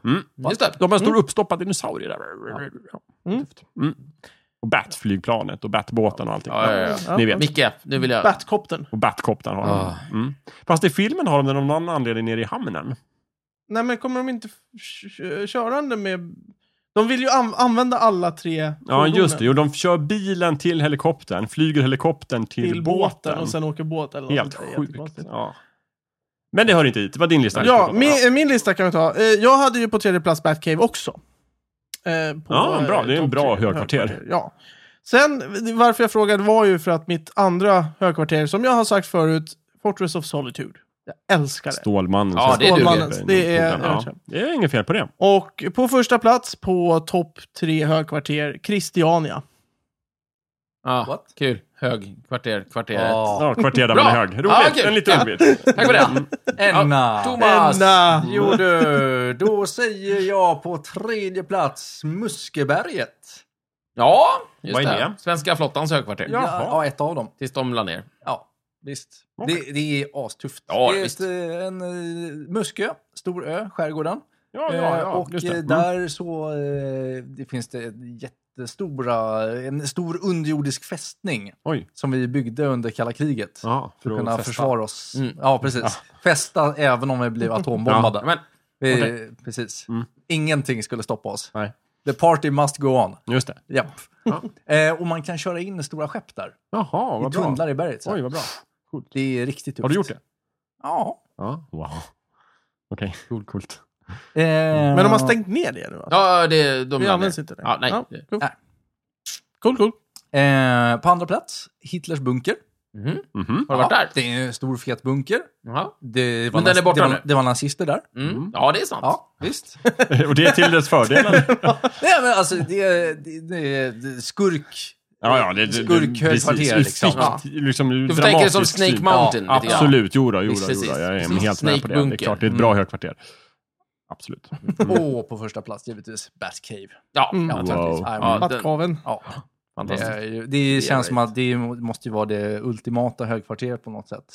Mm.
Just det.
De har en
Mm.
stor uppstoppad dinosaurie där. Mm. Mm. Och Batflygplanet och Batbåten och allting.
Ja, ja, ja.
Ja.
Ni vet.
Micke, nu vill jag...
Batcoptern.
Och Batcoptern har
Ah.
de. Mm. Fast i filmen har de den av någon anledning nere i hamnen.
Nej men kommer de inte f- kö- körande med... De vill ju an- använda alla tre
Ja, just det.
fordonen
Jo, de kör bilen till helikoptern, flyger helikoptern till,
Till båten och sen åker båt eller något
Helt
sånt där.
sjukt.
Jättekonstigt.
Ja. Men det hör inte hit. Det var din lista.
Ja, min, min lista kan vi ta. Eh, Jag hade ju på tredje plats Batcave också. Eh, på,
Ja, bra.
eh,
Det är en
topp
bra
tre
högkvarter.
Ja. Sen, varför jag frågade var ju för att mitt andra högkvarter, som jag har sagt förut, Fortress of Solitude. Jag älskar det.
Stålmannen.
Ja, det duger.
Stålmannens. Det är-
ja. det är inget fel på det.
Och på första plats på topp tre högkvarter, Christiania.
Ah,
What?
kul. Hög, kvarter, kvarteret.
Ja.
Ja, kvarter där
Bra.
man är hög. Roligt.
Ja, kul.
En liten Mm. ordvits.
Tack för det.
Enna.
Thomas!
Enna.
Jo du, då säger jag på tredje plats Muskeberget.
Ja, just
Vad är
det.
det?
Svenska flottans högkvarter.
Jaha.
Ja, ett av dem.
Tills de la ner.
Ja, visst.
Okej.
Det, det är astufft.
Ja,
det är
visst.
Ett, eh, en eh, muskö, stor ö, skärgården.
Ja, ja,
Eh,
ja.
och
Just det.
eh,
Mm.
där så eh, det finns det jättestora, en stor underjordisk fästning
Oj.
som vi byggde under kalla kriget.
Ja,
För att kunna
festa.
försvara oss.
Mm.
Ja, precis. Fästa även om vi blev atombombade.
Men,
vi,
okej.
Precis.
Mm.
Ingenting skulle stoppa oss.
Nej.
The party must go on.
Just det.
Japp. Eh, och man kan köra in stora skepp där.
Jaha,
Vi
vad bra.
tunnlar i berget. Så.
Oj, vad bra.
Det är riktigt tufft.
Har du gjort det?
Ja.
Ja. Wow. Okej, coolt. coolt.
Men
Eh,
de har stängt ner det nu va?
ja, det, de
det
la
används
ner.
inte längre.
Ja, nej.
cool.
Nej.
cool, cool.
Eh, på andra plats, Hitlers bunker.
Mhm. Har du
Mhm.
varit
Ja,
där?
Det är en stor fet bunker.
Ja.
Det
Men den
naz-
är borta
det var,
nu.
Det var nazister där.
Mm. ja, det är sant.
Ja, visst.
Och det är till dess fördel? eller?
Nej, men alltså det är, det, det, det, skurk...
Ja, ja, det, det,
Skurkhögkvarter,
precis.
liksom.
Fikt,
Ja.
liksom
Du får tänka dig som
dramatisk
Snake
syn.
Mountain. lite grann.
Absolut, jodå, jodå,
Precis,
jodå. Jag är
precis.
helt
Snake
med på det. Det är
Bunker.
klart, det är ett
Mm.
bra högkvarter. Absolut.
Och på första plats givetvis Batcave.
Ja,
Mm.
ja, tack.
Wow.
Nej,
Ja,
men-
Battkaven.
Ja, det,
fantastiskt.
är ju- det känns som att det måste ju vara det ultimata högkvarteret på något sätt.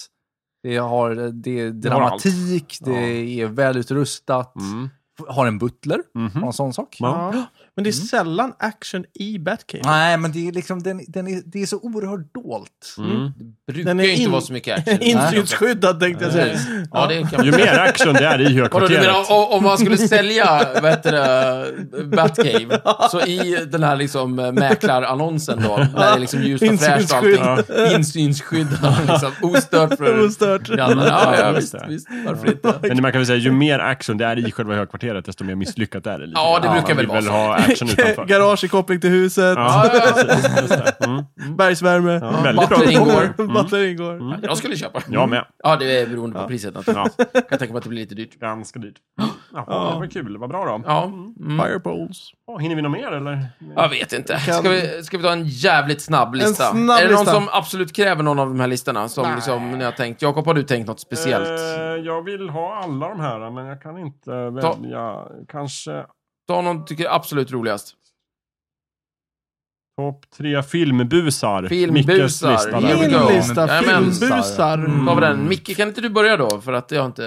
Det, har, det är
har
dramatik, det,
Ja.
är välutrustat,
Mm.
har en butler,
Mhm.
har en sån sak.
Ja. Men
Mm.
det är sällan action i Batcave.
Nej, men det är, liksom, den, den är, det är så oerhört dolt.
Mm.
Det brukar
Den är
ju inte
in-
vara så mycket action.
Insynsskyddad tänkte jag säga.
Precis. Ja, det kan
Ju
man...
mer action det är i
Vadå, du
högkvarteret.
menar o- om man skulle sälja, vad heter det, Batcave, så i den här liksom eh, mäklarannonsen då, när det är liksom ljust och fräscht och
Insynsskydd.
allting, insynsskydd, liksom, ostört för
Ostört.
grannarna. Ja, ja,
Ja, just
visst,
det.
visst, varför inte?
Men man kan väl säga, ju mer action det är i själva högkvarteret, desto mer misslyckat är det. Lite.
Ja, det
grann.
brukar
Man
väl
vill
vara
ha action utanför.
Garage i koppling till huset.
Ja,
Ja, ja,
precis. Just det. Mm.
Bergsvärme.
Ja, Mm. väldigt bra.
Batteri
Mm.
ingår.
Batteri ingår.
ja. Jag skulle köpa.
Jag med.
Ja, det är beroende på priset naturligtvis.
Ja.
Jag kan tänka mig att det blir lite dyrt.
Ganska dyrt. Ja, det var kul. Vad bra då.
Ja, mm.
Firepoles.
Ja, hinner vi något mer eller?
jag vet inte. Ska vi, ska vi ta en jävligt snabb lista?
snabb
är det någon
lista.
som absolut kräver någon av de här listorna? Som liksom, ni har tänkt. Jakob, har du tänkt något speciellt?
Eh, jag vill ha alla de här, men jag kan inte välja. Kanske
Ta någon du tycker är absolut roligast.
topp tre filmbusar.
Filmbusar.
Mickes lista där.
Here we go.
Filmlista.
Jajamän.
Filmbusar.
Mm.
Ta vi den. Micke, kan inte du börja då? För att jag har inte...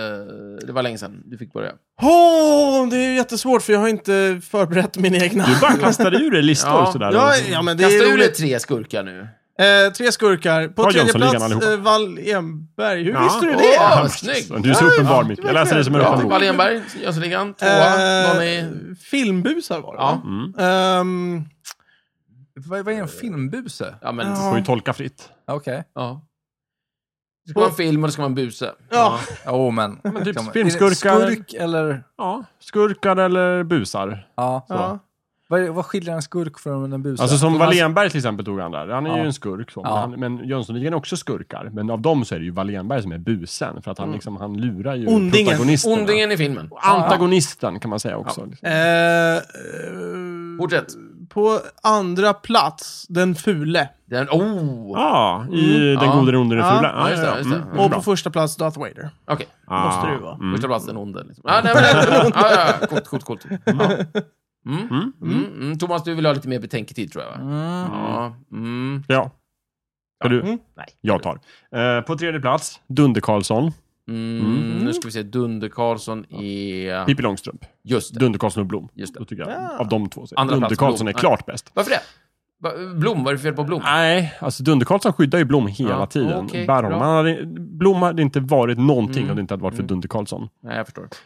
Det var länge sedan du fick börja.
Åh, det är ju jättesvårt för jag har inte förberett min egna.
Du bara kastar ur dig listor
Ja.
sådär.
Ja, ja, men det
Kasta
är
ur dig
roligt.
tre skurkar nu.
Eh, tre skurkar. På
Ta
tredje
Jönssonligan
plats,
allihopa.
eh, Wall Enberg. Hur
Ja.
visste du
Åh,
det?
vad
men
snyggt.
Du är så uppenbar, Micke. Jag läser dig som en
Bra.
öppen bok.
Wallenberg, Jönssonligan, tvåa.
Eh,
Någon i...
Filmbusar var det,
Ja.
va?
Mm.
Ehm,
Vad, vad är en filmbuse?
Ja, men...
Ja.
Får ju tolka fritt.
Okej.
Ja. Det ska vara en film och det ska vara en buse.
ja.
Ja, Jo, men...
typ
liksom, är det
filmskurkar.
Skurk eller...
Ja, skurkar eller busar.
Ja.
ja.
Vad, är- vad skiljer en skurk från en buse?
Alltså som
Thomas-
Wallenberg till exempel tog han där. Han är ju
Ja.
en skurk. Så.
Ja.
Men, han, men Jönssonligan är också skurkar. Men av dem så är det ju Wallenberg som är busen. För att han, liksom, han lurar ju
Ondingen.
protagonisterna.
Mm. Ondingen i filmen.
Antagonisten kan man säga också. Liksom.
Eh, eh,
Fortsätt.
Ehm, på andra plats, Den fule.
Den, oh!
Ja, i Den
Ja.
gode, den onde, den
Ja, Mm.
fula.
ja, just det, just det.
Och
bra.
på första plats, Darth Vader.
Okej.
Ah,
måste det ju vara.
Mm.
Första plats, den onde. Liksom. Ja, nej, men, ja, ja, ja. Coolt, coolt, coolt. Ja. Mm. Mm. Mm. Thomas, du vill ha lite mer betänketid tror jag, va?
Mm.
Ja. Mm.
Ja. Ska du?
Mm.
Nej.
Jag tar. Eh, på tredje plats, Dunder Karlsson.
Mm. Nu ska vi se. Dunder Karlsson är...
Pippi Långstrump.
Just det.
Dunder Karlsson och Blom.
Just det.
Då tycker jag,
Ja.
av de två, så är
Andra plats,
Dunder Karlsson är
Blom.
klart bäst.
Varför det? Va- Blom, vad är det för fel på Blom?
Nej, alltså Dunder Karlsson skyddar ju Blom hela
Ja,
tiden.
okej,
Bär honom.
bra.
Han hade, Blom hade inte varit någonting
Mm.
om det inte hade varit för
Mm.
Dunder Karlsson.
Nej, jag förstår. Mm.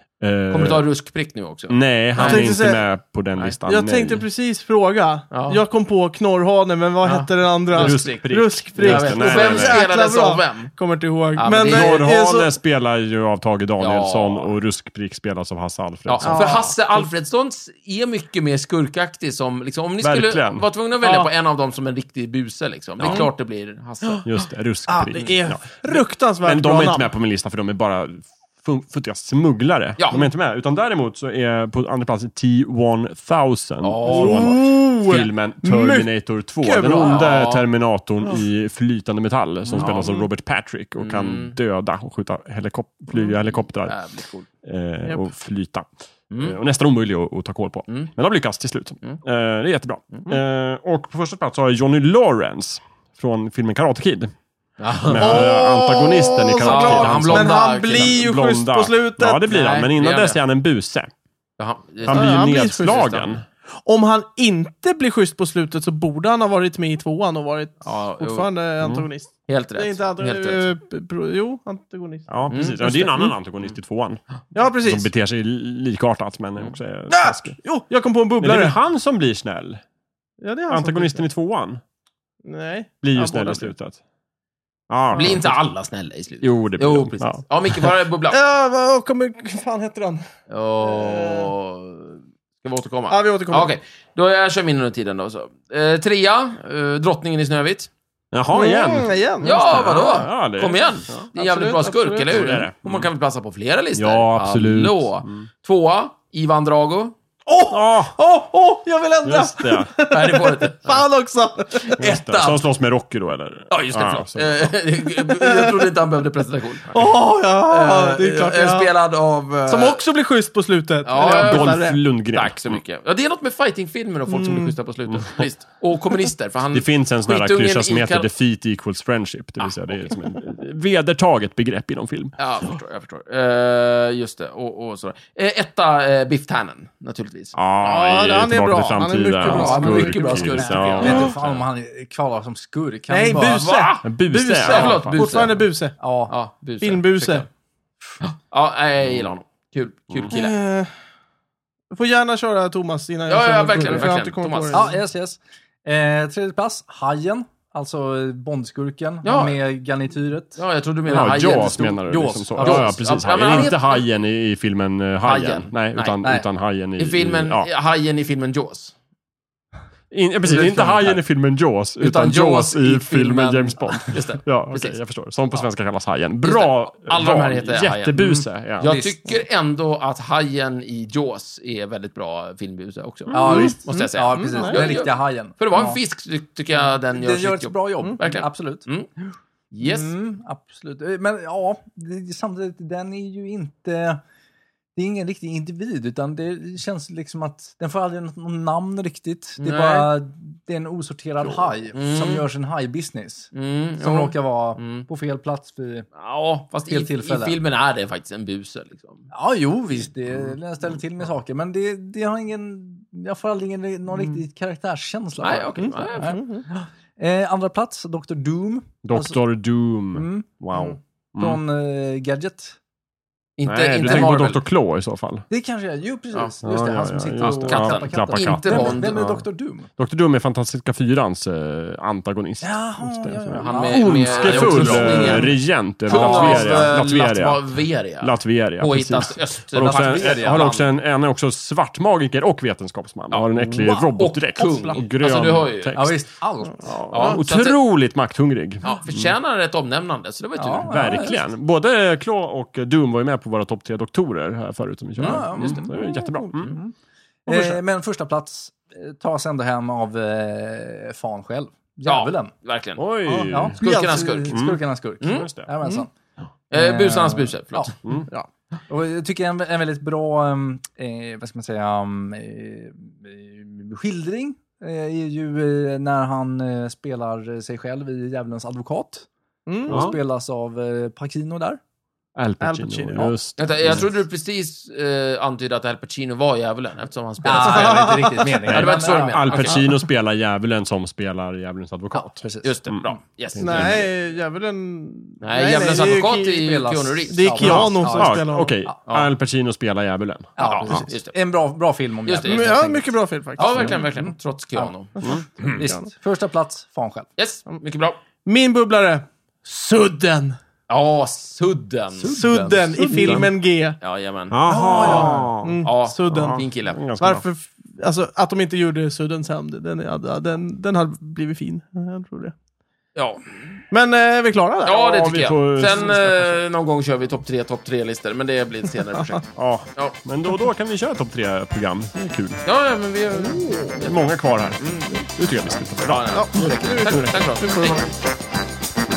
Eh,
Kommer du ta ruskprick nu också?
Nej, han
Jag
är
tänkte
inte
säga-
med på den
Nej.
listan.
jag
nej.
tänkte precis fråga.
Ja.
Jag kom på Knorrhanen, men vad
Ja.
hette den andra?
Ruskprick.
Ruskprick.
Jag
Just
vet.
det,
Och
nej,
vem
nej, nej.
spelades
Jäkla bra.
av vem?
Kommer inte ihåg.
Ja, men
men
det är-
eh, är
Norrhane
så,
spelar ju av Tage Danielsson
Ja.
och Ruskprick spelas av Hasse
Ja,
Alfredsson.
för Hasse Alfredsson är mycket mer skurkaktig som, liksom, om ni skulle
Verkligen.
vara tvungna att välja
Ja.
på en av dem som en riktig buse, liksom. Det är klart det blir Hasse.
Just det,
ah,
Ruskprick.
det är
Ja.
fruktansvärt
Men de är
bra
inte
namn.
med på min lista för de är bara fun- futtiga smugglare.
Ja.
De är inte med. Utan däremot så är på andra plats T-1000
Åh.
från
Oh,
filmen Terminator 2. Den
bra.
onda
Ja.
Terminatorn i flytande metall som spelas av Robert Patrick och kan döda och skjuta helikop flyga helikoptrar
Jävligt coolt.
eh,
Japp.
och flyta. Eh, Och nästan omöjlig att, att ta koll på. Men de lyckas till slut. Eh, det är jättebra. Eh, och på första plats har jag Johnny Lawrence från filmen Karate Kid. Med eh, antagonisten i Karate
såklart.
Kid.
han
som-
blonda
Men han
killen.
blir ju schysst på slutet.
Ja, det blir han.
Nej,
Men
det
innan
gör
dess
det.
är han en buse.
Jaha, just
Han
det.
blir ju
han blir
nedslagen.
schysst.
Om han inte blir schysst på slutet så borde han ha varit med i tvåan och varit
Ja, jo.
fortfarande antagonist.
Helt
Det är
rätt.
inte
Helt rätt.
antagonist. Eh, Jo, antagonist.
ja, precis. ja, det är en annan antagonist i tvåan.
Ja,
Som
precis.
beter sig likartat, men
Mm.
också är
Ah!
taskig.
Jo, jag kom på en
Men det är väl
bubblare.
han som blir snäll?
Ja, det är han som
Antagonisten i tvåan
Nej.
blir ju
Ja,
snäll
båda
i slutet. Ja,
Blir inte alla snälla i slutet?
Jo, det blir
Jo,
de.
precis. Ja,
Ja.
Micke, var är bubblan?
Ja, vad kommer... vad fan heter den?
Åh. Ska vi återkomma?
Ja, vi återkommer.
Ja, Okej, då jag kör min under tiden då. Så. Eh, trea, eh, Drottningen i Snövit.
Jaha, igen.
Mm, igen.
Ja, vadå?
Ja, det-
Kom igen! det är en jävligt
Absolut,
bra skurk,
absolut. Mm.
eller hur?
Så är det.
Och man kan väl passa på flera listor?
Mm. Ja, absolut.
Hallå. Tvåa, Ivan Drago.
Åh!
Ah,
Åh! Åh! Jag vill ändra!
just det.
Nej, det får du inte.
Fan också!
Just det.
Ettan.
Som slåss med Rocky då eller?
Ja, just det.
Ah,
förlåt.
så-
Eh, jag trodde inte han behövde presentation.
Åh, ja!
Eh,
Det är klart
eh,
jag...
Spelad av... eh,
Som också blir schysst på slutet.
Ja,
Eller,
ja,
jag
Dolph
missade det.
Lundgren.
Tack så mycket. Ja, det är något med fightingfilmer och folk som blir schyssta på slutet. Visst. Och kommunister, för han...
Det finns en sån här
Skitungen
klyscha som
i
heter
Kal-
defeat equals friendship. Det vill säga, det är liksom ett vedertaget begrepp inom film.
Ja, jag förstår. Jag förstår. Eh, just det. Och, och sådär. Eh, etta, eh, Biff Tannen, naturligtvis.
Ja, han
i
är
Tillbaka
bra.
till
Han är mycket
framtiden.
bra.
Ja, han är mycket bra
Skurk,
skurk,
liksom.
tycker
Jag
Ja.
vet inte fan om han kvalar som skurk. Han
Nej,
bara-
buse!
En Buse.
Buse!
ja.
förlåt, buse.
Fortfarande buse.
Ja.
Ja, buse.
Filmbuse.
Ursäkta. Ja, nej, jag gillar honom. Kul, kul kille.
Eh, Du får gärna köra Thomas innan
Ja, ja,
kör min
verkligen,
fråga, för jag har
verkligen.
inte kommit
Thomas.
på det.
Ja, yes, yes. Eh, tredje plats, Hajen. Alltså eh, Bondskurken
Ja.
han med garnityret.
Ja, jag trodde du menade
Ja,
hajen.
Jaws menar du? Liksom
Jaws.
så.
Ja,
Ja, ja,
Jaws.
precis.
Ja, men
Hajen.
han
Inte
heter-
hajen i, i filmen eh, Hajen.
Hajen.
Nej,
Nej,
utan,
nej.
utan hajen i...
I filmen,
i- ja.
hajen i filmen Jaws.
In, ja, precis.
Det är
Inte
filmen
hajen
här.
i filmen Jaws, utan,
Utan
Jaws i filmen
filmen-
James Bond.
Just det.
Ja, okej,
Precis.
jag förstår. Som på svenska kallas hajen. Bra
det. Alla de här
val.
heter Hajen. Mm.
Jättebuse. Ja.
Jag
Visst.
tycker ändå att hajen i Jaws är väldigt bra filmbuse också.
Ja,
Mm.
visst.
Mm. Måste jag säga.
Ja, precis.
Mm.
Den riktiga hajen.
För det var
Ja.
en fisk, ty- tycker jag den gör
Den gör
sitt
ett
jobb.
bra jobb.
verkligen.
Absolut.
Mm. Yes.
Mm, absolut. Eh, Men ja, det, samtidigt, den är ju inte... Det är ingen riktig individ, utan det känns liksom att den får aldrig något namn riktigt. Det är
Nej.
bara det är en osorterad haj
Mm.
som gör sin hajbusiness.
Mm,
Som
jo.
råkar vara
Mm.
på fel plats vid...
Ja, fast i,
Fel
i
tillfälle.
filmen är det faktiskt en buse. Liksom.
Ja, jo visst, det
Mm.
den ställer till med saker, men det, det har ingen... Jag får aldrig ingen, någon riktig karaktärskänsla.
Mm. Nej,
för den.
okej. Nej,
Nej. Eh, andra plats, Dr. Doom.
Dr.
alltså-
Doom.
Mm.
Wow. Mm.
Från eh, Gadget.
Inte,
Nej, du
inte
tänker
Marvel.
på Dr. Claw i så fall.
Det kanske jag Jo, precis.
Ja.
Just det,
Ja, ja,
han som
ja,
sitter
just
och
det.
Katten.
klappar
Klappar
katten.
katten.
Inte
Vem,
Bond.
vem är
Ja.
Dr. Doom?
Dr. Doom är Fantastiska Fyrans eh, antagonist.
Jaha,
Just det.
ja, ja.
Han
Han med, med,
Ondskefull
också
eh,
svingen.
regent över
Kung av,
Latveria.
eh,
Latveria.
Latveria.
Latveria, precis.
Påhittat
Har också, en,
öster...
har också en, en är också svartmagiker och vetenskapsman. har en äcklig
wow.
robotdräkt.
Och kung.
grön
Alltså, du hör ju.
text.
Ja, visst. Allt.
Ja,
Ja, så att det-
otroligt makthungrig.
Ja, förtjänar rätt omnämnande, så det var ju tur.
Ja,
Verkligen. Både Claw och Doom var ju med på våra topp tre doktorer här förut som vi körde.
Ja, just det.
Mm, är jättebra. Mm.
Eh, men första plats eh, tas ändå hem av eh, fan själv.
Ja.
Djävulen.
Verkligen.
Oj!
Ja. alltså
Skurkarnas skurk.
Mm.
Skurkarnas skurk.
Mm.
Just det.
Jajamensan.
Eh, busarnas buse,
Ja.
förlåt.
Mm.
ja. Och jag tycker en, en väldigt bra, ehm, eh, vad ska man säga, ehm, eh, skildring eh, är ju eh, när han eh, spelar sig själv i Djävulens advokat.
Mm.
Och spelas av eh, Pacino där.
Al Pacino.
Al Pacino, ja.
Just
Vänta, jag trodde du precis eh, antydde att Al Pacino var djävulen, eftersom han spelade
Ah,
sig
det
själv.
var inte riktigt meningen.
Ja, det var inte så du menade.
Al
Okej.
Pacino spelar djävulen som spelar djävulens advokat.
Precis.
Just det, bra. Yes.
Nej, djävulen...
Nej, Djävulens
det är ju
advokat är
Ki-
ju
spelas-
Keanu Reeves.
Det är Keanu
Ja,
som
Ja,
spelar
Okej,
honom.
Al Pacino spelar djävulen.
Ja,
Ja,
precis.
just det.
En bra, bra film om
Just det,
Men,
djävulen.
just
ja, mycket bra film faktiskt.
Ja, verkligen, verkligen. Trots Keanu.
Mm. Visst. Första plats, fan själv.
Yes, mycket bra.
Min bubblare. Sudden.
Ja, sudden.
Sudden i filmen G.
Jajamän.
Jaha! Mm.
Ja,
Sudden.
Fin kille.
Ganska bra.
Varför... f- Alltså, att de inte gjorde Sudden Sound, den, den, den, den hade blivit fin. Jag tror det.
Ja,
Men eh, är vi klara där?
ja det
Ja,
tycker
vi
jag.
får-
Sen eh, någon gång kör vi topp tre, topp tre-listor, men det blir ett senare projekt.
Ja.
Ja,
Men då och då kan vi köra topp tre program. Det är kul.
ja ja, men vi...
Det är många kvar här. Nu tycker jag vi slutar. Bra.
Ja, ja. Tack, tack för det. Hej.